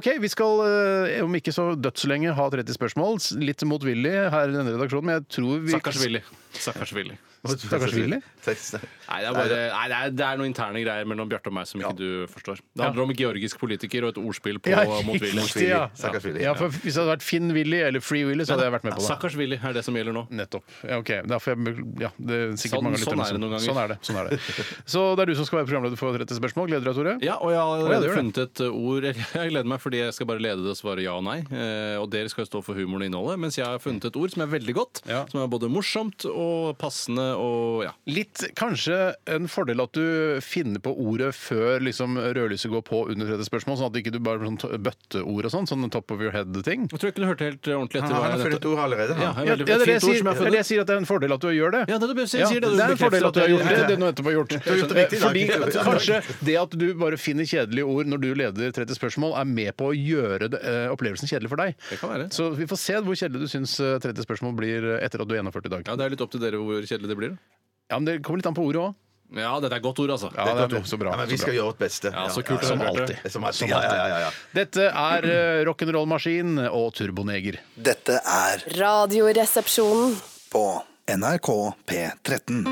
OK, vi skal eh, om ikke så dødslenge ha 30 spørsmål. S- Litt motvillig her i denne redaksjonen, men jeg tror vi Sakkarsvillig. Sakkarsvillig. Stakkarsvillig? Nei, det er, bare, nei, det er, det er noen interne greier mellom Bjarte og meg som ikke du forstår. Det handler om georgisk politiker og et ordspill på Ja, motvillig. riktig, ja. Stakkarsvillig, ja, for Hvis det hadde vært Finn Willy eller Free Willy, så hadde jeg vært med på det. Sakkarsvillig er det som gjelder nå. Nettopp. Ja, OK. Da får jeg Ja, det er sikkert Sånn- mange av lytterne sånn er det som- noen ganger. Sånn er det. Sånn er det. Så det er du som skal være programleder for 30 spørsmål. Gleder du deg, Tore? Ja, og jeg har ja, det allerede gjør funnet et uh, ord. Jeg gleder meg fordi jeg skal bare lede det og svare ja og nei. Eh, Og dere skal jo stå for humoren og innholdet. Mens jeg har funnet et ord som er veldig godt. Ja. Som er både morsomt og passende og ja. Litt kanskje en fordel at du finner på ordet før liksom, rødlyset går på under 30 spørsmål, sånn at ikke du bare blir sånn t- bøtteord og sånn, sånn top of your head-ting. Jeg tror ikke du hørte helt eh, ordentlig Han etter hva har jeg funnet nettopp ordet allerede. Ja, han. jeg Ja, er det veldig er det jeg fint ord sier. som Det jeg har er det funnet. jeg sier, at det er en fordel at du gjør det. Ja, det er det jeg sier, Ja, sier det det. er en fordel at du har gjort det. bekrefter det er noe etterpå gjort. har gjort det riktig i dag. Fordi at Kanskje det at du bare finner kjedelige ord når du leder 30 spørsmål, er med på å gjøre det, eh, opplevelsen kjedelig for deg. Det kan være. Så vi får se hvor kjedelig du syns eh, 30 spørsmål blir eh, etter at du er gjennomført i dag. Ja, Det er litt opp til dere hvor kjedelig det blir. da. Ja, men Det kommer litt an på ordet òg. Ja, dette er godt ord, altså. Ja, det er så bra. Ja, men vi så bra. skal gjøre vårt beste. Ja, så kult, som Bjarte. alltid. Som alltid. Ja, ja, ja, ja. Dette er eh, rock'n'roll-maskin og turboneger. Dette er Radioresepsjonen. på NRK P13.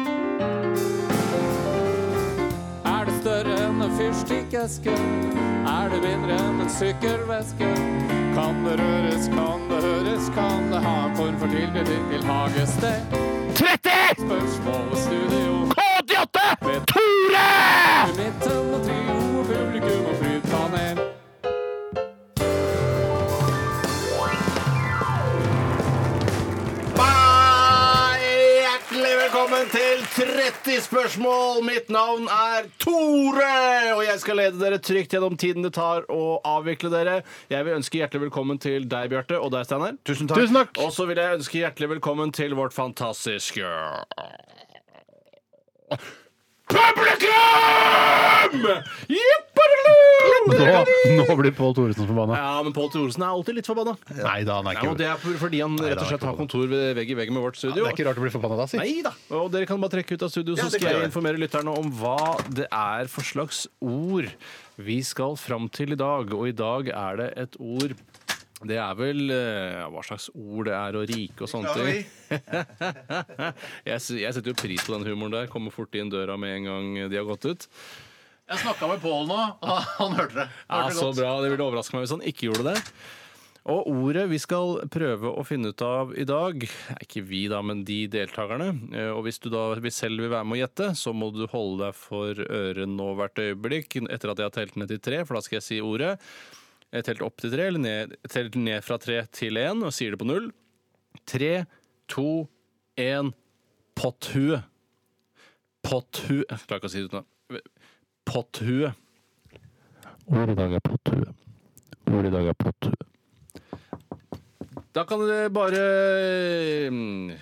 Er det større enn en fyrstikkeske? Er det mindre enn en sykkelveske? Kan det røres, kan det høres, kan det ha en form for tilknytning til hagested? 30! Spørsmål og studio. K88! Tore! Midten og trio og publikum og flytpanel. Hjertelig velkommen til 30 spørsmål. Mitt navn er Tore, og jeg skal lede dere trygt gjennom tiden det tar å avvikle dere. Jeg vil ønske hjertelig velkommen til deg, Bjarte, og deg, Steinar. Tusen takk. Tusen takk! Og så vil jeg ønske hjertelig velkommen til vårt fantastiske Publikum! Jipperlu! Nå, nå blir Pål Thoresen forbanna. Ja, men Pål Thoresen er alltid litt forbanna. Nei da, han er Nei, ikke og det er for- fordi han rett og slett har kontor ved- vegg i vegg med vårt Det studio. er ikke rart du blir forbanna da, si. Nei da! Og dere kan bare trekke ut av studio, så det skal kan jeg jeg. informere lytterne om hva det er for slags ord vi skal fram til i dag. Og i dag er det et ord det er vel eh, Hva slags ord det er, og rike og sånne ting. jeg, s- jeg setter jo pris på den humoren der. Kommer fort inn døra med en gang de har gått ut. Jeg snakka med Pål nå, og han hørte det. Ja, så bra. Det ville overraske meg hvis han ikke gjorde det. Og ordet vi skal prøve å finne ut av i dag, er ikke vi da, men de deltakerne. Eh, Og hvis du da vil selv vil være med å gjette, så må du holde deg for øret nå hvert øyeblikk etter at jeg har telt ned til tre, for da skal jeg si ordet. Jeg telt opp til tre, eller ned, telt ned fra tre til én, og sier det på null. Tre, to, én, potthue. Potthue Jeg klarer ikke å si det uten det. Potthue. Ordet i dag er potthue. Ordet i dag er potthue. Da kan dere bare mm,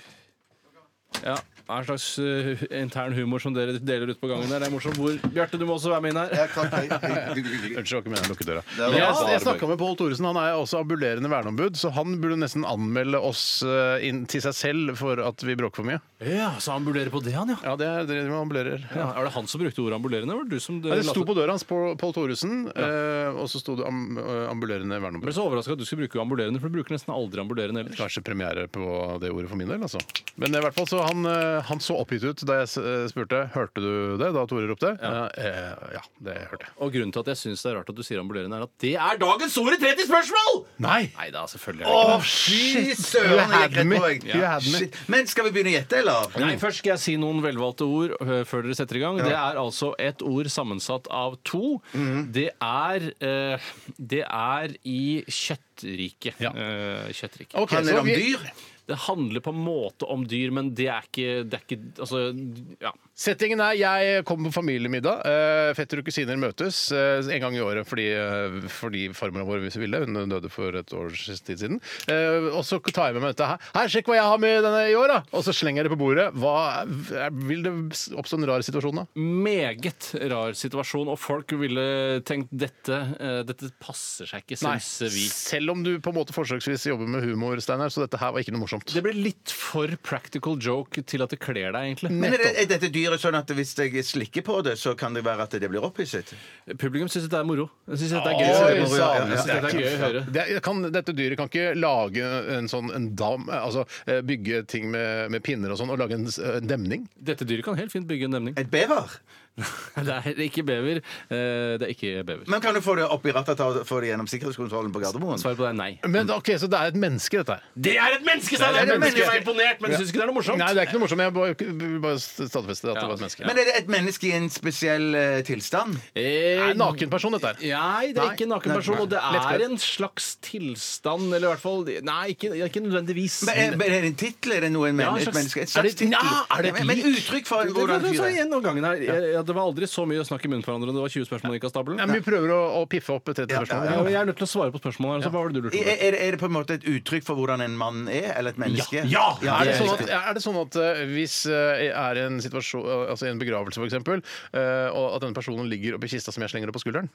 Ja, hva er en slags eh, intern humor som dere deler ut på gangen der. Det er morsomt. Hvor, Bjarte, du må også være med inn her. Jeg kan- jeg- jeg- jeg- Unnskyld, det var ikke meningen å lukke døra. var jeg bare jeg snakka med Pål Thoresen. Han er også ambulerende verneombud, så han burde nesten anmelde oss eh, inn til seg selv for at vi bråker for mye. Ja, Så han bulderer på det, han, Ja, det er det man ambulerer. ja. Er det han som brukte ordet ambulerende? Var det du som Nei, det sto latet- på døra hans, Pål Pål Thoresen, eh, og så sto det am eh, ambulerende Jeg ble verneombud. så overraska at du skulle bruke ambulerende, for du bruker nesten aldri ambulerende ellers. Kanskje premiere på det ordet for min del, altså. Men i hvert fall så han, eh, han så oppgitt ut da jeg s- eh, spurte Hørte du det da Tore ropte. Ja, ja det hørte jeg. Og grunnen til at jeg syns det er rart at du sier ambulerende, er at det er dagens ord i 30 spørsmål! Nei! Nei da, selvfølgelig er det ikke det. Fy You søren, jeg had gikk rett me. på vei. You had me. Shit. Men skal vi begynne å gjette, eller? Nei, først skal jeg si noen velvalgte ord øh, før dere setter i gang. Det er altså et ord sammensatt av to. Det er øh, Det er i kjøttriket. Ja. Øh, kjøttriket. Ok, Handler det så om vi- dyr? Det handler på en måte om dyr, men det er ikke, det er ikke Altså, ja. Settingen er jeg kommer på familiemiddag. eh, Fetter og kusiner møtes eh, en gang i året fordi, eh, fordi farmora vår hvis hun ville. Hun døde for et års tid siden. Eh, Og så tar jeg med meg dette her. Her, sjekk hva jeg har med denne i år, da! Og så slenger jeg det på bordet. Hva, er- vil det oppstå en rar situasjon da? Meget rar situasjon, og folk ville tenkt dette øh, Dette passer seg ikke, syns vi. Selv om du på en måte forsøksvis jobber med humor, Steinar, så dette her var ikke noe morsomt. Det blir litt for practical joke til at det kler deg, egentlig. Men er, det, er dette dyret sånn at hvis jeg slikker på det, så kan det være at det blir opphisset? Publikum syns dette er moro. De Syns dette er Oi, gøy. så det Jeg må- ja, ja, ja. synes dette er gøy å høre. Det kan, dette dyret kan ikke lage en sånn en dam Altså eh, bygge ting med, med pinner og sånn, og lage en, s- en demning. Dette dyret kan helt fint bygge en demning. Et bever? Det er ikke bever. Eh, Det er ikke bever. Men kan du få det opp i rattet og få det gjennom sikkerhetskontrollen på Gardermoen? Svaret på det er nei. Men ok, Så det er et menneske, dette her. Det er et menneske, Steinar! Det er et menneske. Jeg er imponert, men jeg syns ikke det er noe morsomt. Nei, det er ikke noe morsomt. Jeg bare, vil bare stadfeste at det var et menneske. Men er det et menneske i en spesiell eh, tilstand? Eh, Det er en nakenperson, dette her. Nei, det er ikke en nakenperson. Og det er en slags tilstand, eller i hvert fall Nei, ikke, ikke nødvendigvis. Men er, men er det en tittel? Er det noe en men, Ja, en et slags- menneske? Et er slags det- tittel? Nja, er det et men, men lik? uttrykk for det, det, hvordan det, det, fyret er? det, gangen her. Jeg, jeg, det var aldri så mye snakk i munnen på hverandre. Det var 20 spørsmål som gikk av stabelen. Ja, men vi prøver å, å piffe opp 30 spørsmål. Ja, og jeg er nødt til å svare på spørsmålet. her, Så hva var det du lurte på? Er, er det- er det på en måte et uttrykk for hvordan en mann er? Eller et menneske? Ja, Er det, er sånn at, riktig. er det sånn at eh, hvis eh, jeg er i en situasjon, altså i en begravelse f.eks., uh, og at denne personen ligger oppi kista som jeg slenger opp på skulderen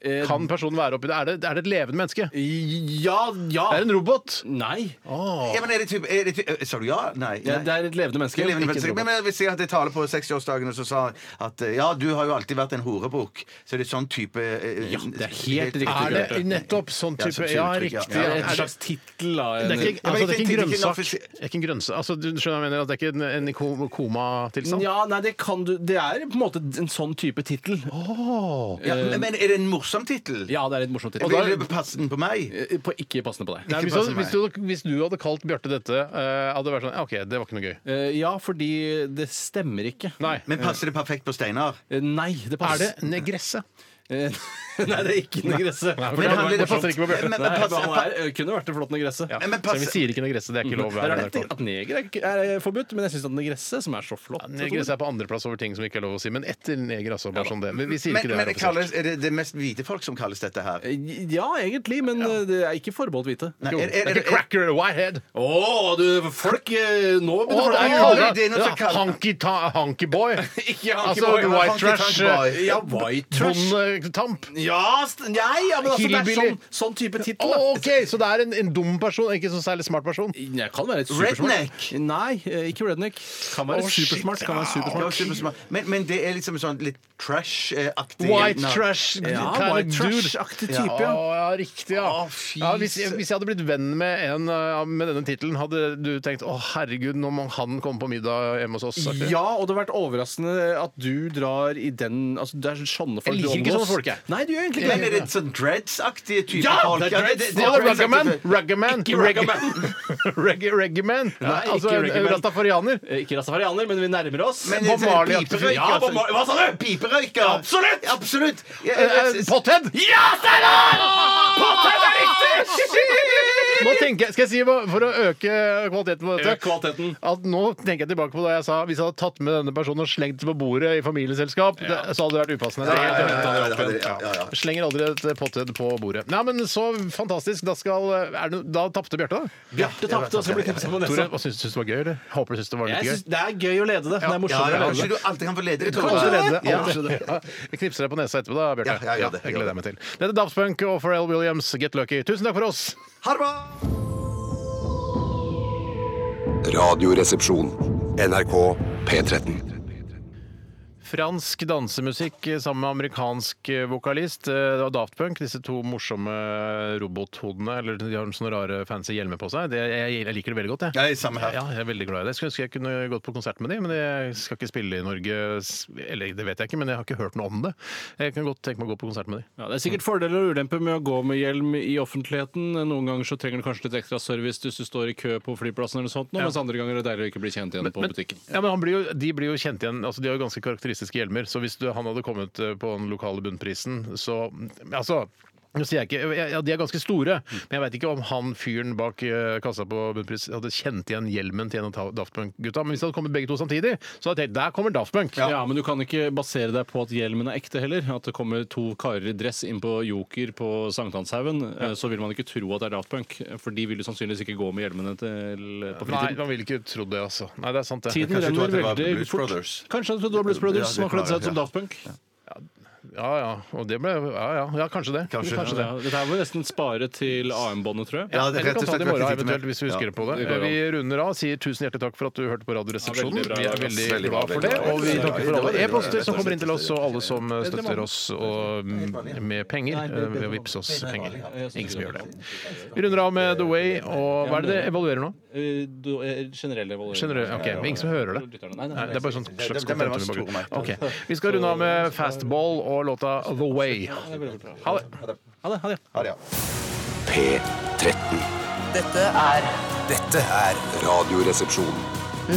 Eh, Kan personen være oppi det? Er det, er det et levende menneske? Det Ja, ja er en robot! Nei. Ja, men er det typ, er det typ, eh, Sa du ja? Nei. Det, nei. det er et levende menneske. Ikke levende ikke en menneske. robot. Men men hvis jeg hadde tale på 60-årsdagen og så sa at eh, ja, du har jo alltid vært en horebukk, så er det sånn type eh, Ja, det er helt riktig. Er Bjarte. det nettopp sånn Ja, type sånn Ja, uttrykk, ja. riktig. Ja, Det er Er et det- slags tittel, da. det er ikke, altså, det er ikke en Men jeg tenkte grønnsak. ikke en Det er ikke en grønnsak. Altså, du skjønner hva jeg mener at det er ikke en, en ko- komatilstand? Ja, nei, det kan du Det er på en måte en sånn type tittel. ja, men- Men er det en morsom tittel? Ja, det er litt morsomt. Vil det passe den på meg? Eh, På ikke passende på deg. Nei, hvis, Ikke du, passe hvis, du, hvis du hadde kalt Bjarte dette, eh, hadde det vært sånn ja, OK, det var ikke noe gøy. Eh, Ja, fordi det stemmer ikke. Nei. Men passer det perfekt på Steinar? Eh, Nei, det Er det passer. negresse? Eh, Nei, det er ikke for negresse. det han var- blir- det passer ikke på Bjarte. Men- men Nei, passer- han er, eh, kunne vært en flott negresse. Ja. men Så pass- vi sier ikke negresse, det er ikke lov. Det her er i rart NRK. at neger er, ikke- er eh, forbudt, men jeg syns at negresse, som er så flott Negresse er på andreplass over ting som ikke er lov å si, men etter neger, altså. Bare sånn det. Men vi sier Men, ikke det men her. det offisielt. kalles, er det det mest hvite folk som kalles dette her? Eh, Ja, egentlig, men eh, det er ikke forbeholdt hvite. Nei, Jo, er, det er, er er, ikke cracker eller whitehead. Å, du, folk eh, Å, Nå begynner det folk er er kallet- det- det er noe som ja, kalles- Hunky, ta, hunky boy. Ikke Altså boy, white hunky trash. tank boy. eh, Ja, white trash. Bonde tenkte Tamp. Ja, st- nei, ja, men altså, det er Hillbilly. sånn, sånn type tittel. da. Å, OK, så det er en, en dum person, ikke en så særlig smart person. Jeg kan være et Redneck. supersmart. Nei, eh, ikke redneck. Kan være Å, shit. supersmart. Kan være Det var supersmart. supersmart. Men, men det er liksom sånn litt trash-aktig. White Nei. trash Ja, kind white of dude. trash-aktig type, Ja, ja. Å, ja riktig, ja. Å, fy ja hvis, hvis jeg hadde blitt venn med en eh, med denne tittelen, hadde du tenkt 'Å, herregud, nå må han komme på middag hjemme hos oss'? sagt det. Ja, og det har vært overraskende at du drar i den altså, Det er sånne folk Jeg liker du ikke omgås. sånne folk, jeg. Nei, du gjør egentlig Men er ikke det. det sånn dreads-aktige type Ja, folk? det er dreads. Ja, Ruggerman! Ruggerman! Ikke Reggaeman! Nei, ikke Altså en- en Ruggerman. ratafarianer. Eh, Ikke rastafarianer, men vi nærmer oss. Men Bob det er Marley- piperøyker, Ja, Bob Marley- hva sa du? Piperøyker. Absolutt! Absolutt. Jeg- Eh, jeg- eh, Pothead! Ja, Steinar! Potet er riktig! Nå tenker jeg, skal jeg si, hva- For å øke kvaliteten på dette Øk kvaliteten. at Nå tenker jeg tilbake på da jeg sa hvis jeg hadde tatt med denne personen og slengt det på bordet i familieselskap, det, så hadde det vært upassende. Det er helt enig. Ja, det hadde- ja, ja, ja. Jeg Slenger aldri et potted på bordet. Nei, men Så fantastisk. Da, skal, er det, da tapte Bjarte, da. Bjarte tapte, og så blir sånn knipset på Tore, nesa. hva syns syns du det var gøy? eller? Håper du syns det var Jeg litt synes gøy. Det er gøy å lede det. Det er Ja, morsommere ja, å lede Kanskje det. du alltid kan få lede det. Kanskje Tore. redde, Ja. alltid. Ja. Jeg knipser deg på nesa etterpå, da, Bjarte. Ja, ja, gjør det, jeg gjør gleder meg til. Dette er Daft Punk og Pharrell Williams, Get Lucky. Tusen takk for oss. Ha det bra! Radioresepsjon. NRK P13. Fransk dansemusikk eh, sammen med amerikansk eh, vokalist. Eh, Det var Daft Punk, disse to morsomme robothodene. Eller de har sånne rare fancy hjelmer på seg. Det, jeg, jeg liker det veldig godt, jeg. Ja, det er samme her. Ja, jeg er veldig glad i det. Jeg skulle ønske jeg kunne gått på konsert med de, men jeg skal ikke spille i Norge. s- Eller det vet jeg ikke, men jeg har ikke hørt noe om det. Jeg kan godt tenke meg å gå på konsert med de. Ja, det er sikkert fordeler og ulemper med å gå med hjelm i offentligheten. Noen ganger så trenger du kanskje litt ekstra service hvis du står i kø på flyplassen, eller sånt, nå, mens andre ganger er det deilig å ikke bli kjent igjen på butikken. Ja, men han blir jo, De blir jo kjent igjen. altså De har jo ganske karakteristiske hjelmer. Så hvis du, han hadde kommet eh, på den lokale bunnprisen, så Altså. Nå sier jeg ikke, ja, ja, De er ganske store, men jeg veit ikke om han fyren bak eh, kassa på Bunnpris hadde kjent igjen hjelmen til en av Ta- Daft Punk-gutta. Men hvis det hadde kommet begge to samtidig, så hadde jeg tenkt der kommer Daft Punk. Ja. men du kan ikke basere deg på at hjelmen er ekte heller. At det kommer to karer i dress inn på Joker på Sankthanshaugen, eh, så vil man ikke tro at det er Daft Punk. For de vil jo sannsynligvis ikke gå med hjelmene til, eh, på Nei, fritiden. man ville ikke trodd det, altså. Nei, det er sant, det. Tiden Kanskje du tror renner at det var veldig Blues fort. Brothers? Kanskje du trodde det var Blues Ja, Brothers det som har kledd klarer seg ut som jeg. Daft Punk? Ja ja. Og det ble Ja ja, ja kanskje det. Kanskje, det. Ja, dette her må vi nesten spare til AM-båndet, tror jeg. Ja, det er Eller vi rett kan ta det i og slett morgen ikke tid til eventuelt mer. hvis vi husker Ja. på det. det går an. Vi runder av. Sier tusen hjertelig takk for at du hørte på Radioresepsjonen. Ja, veldig bra, Vi er Jonas. veldig Veldig bra, glad for veldig det. bra. Og vi Ja, takker ja, for alle det var- e-poster som det var- kommer inn til oss, og alle som eh, det var- støtter oss og mm, med penger eh, ved å vippse oss penger. Ingen som gjør det. Vi runder av med The Way, og hva er det det evaluerer nå? Eh, du- eh, Generell evaluering. Generell- ok, men ingen som hører det? Lytterne, Nei, nei, Nei, det er bare sånn slags det er mellom oss content vi to og meg. bruker. Ok. Vi skal runde av med Fastball og låta The Way. Ha det. Ha det, ha det. Ha det, ja. P13. Dette er Dette er Radioresepsjon.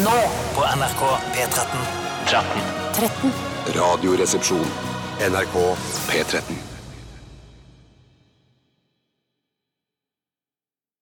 nå på NRK P13. 13. 13. Radioresepsjon. NRK P13.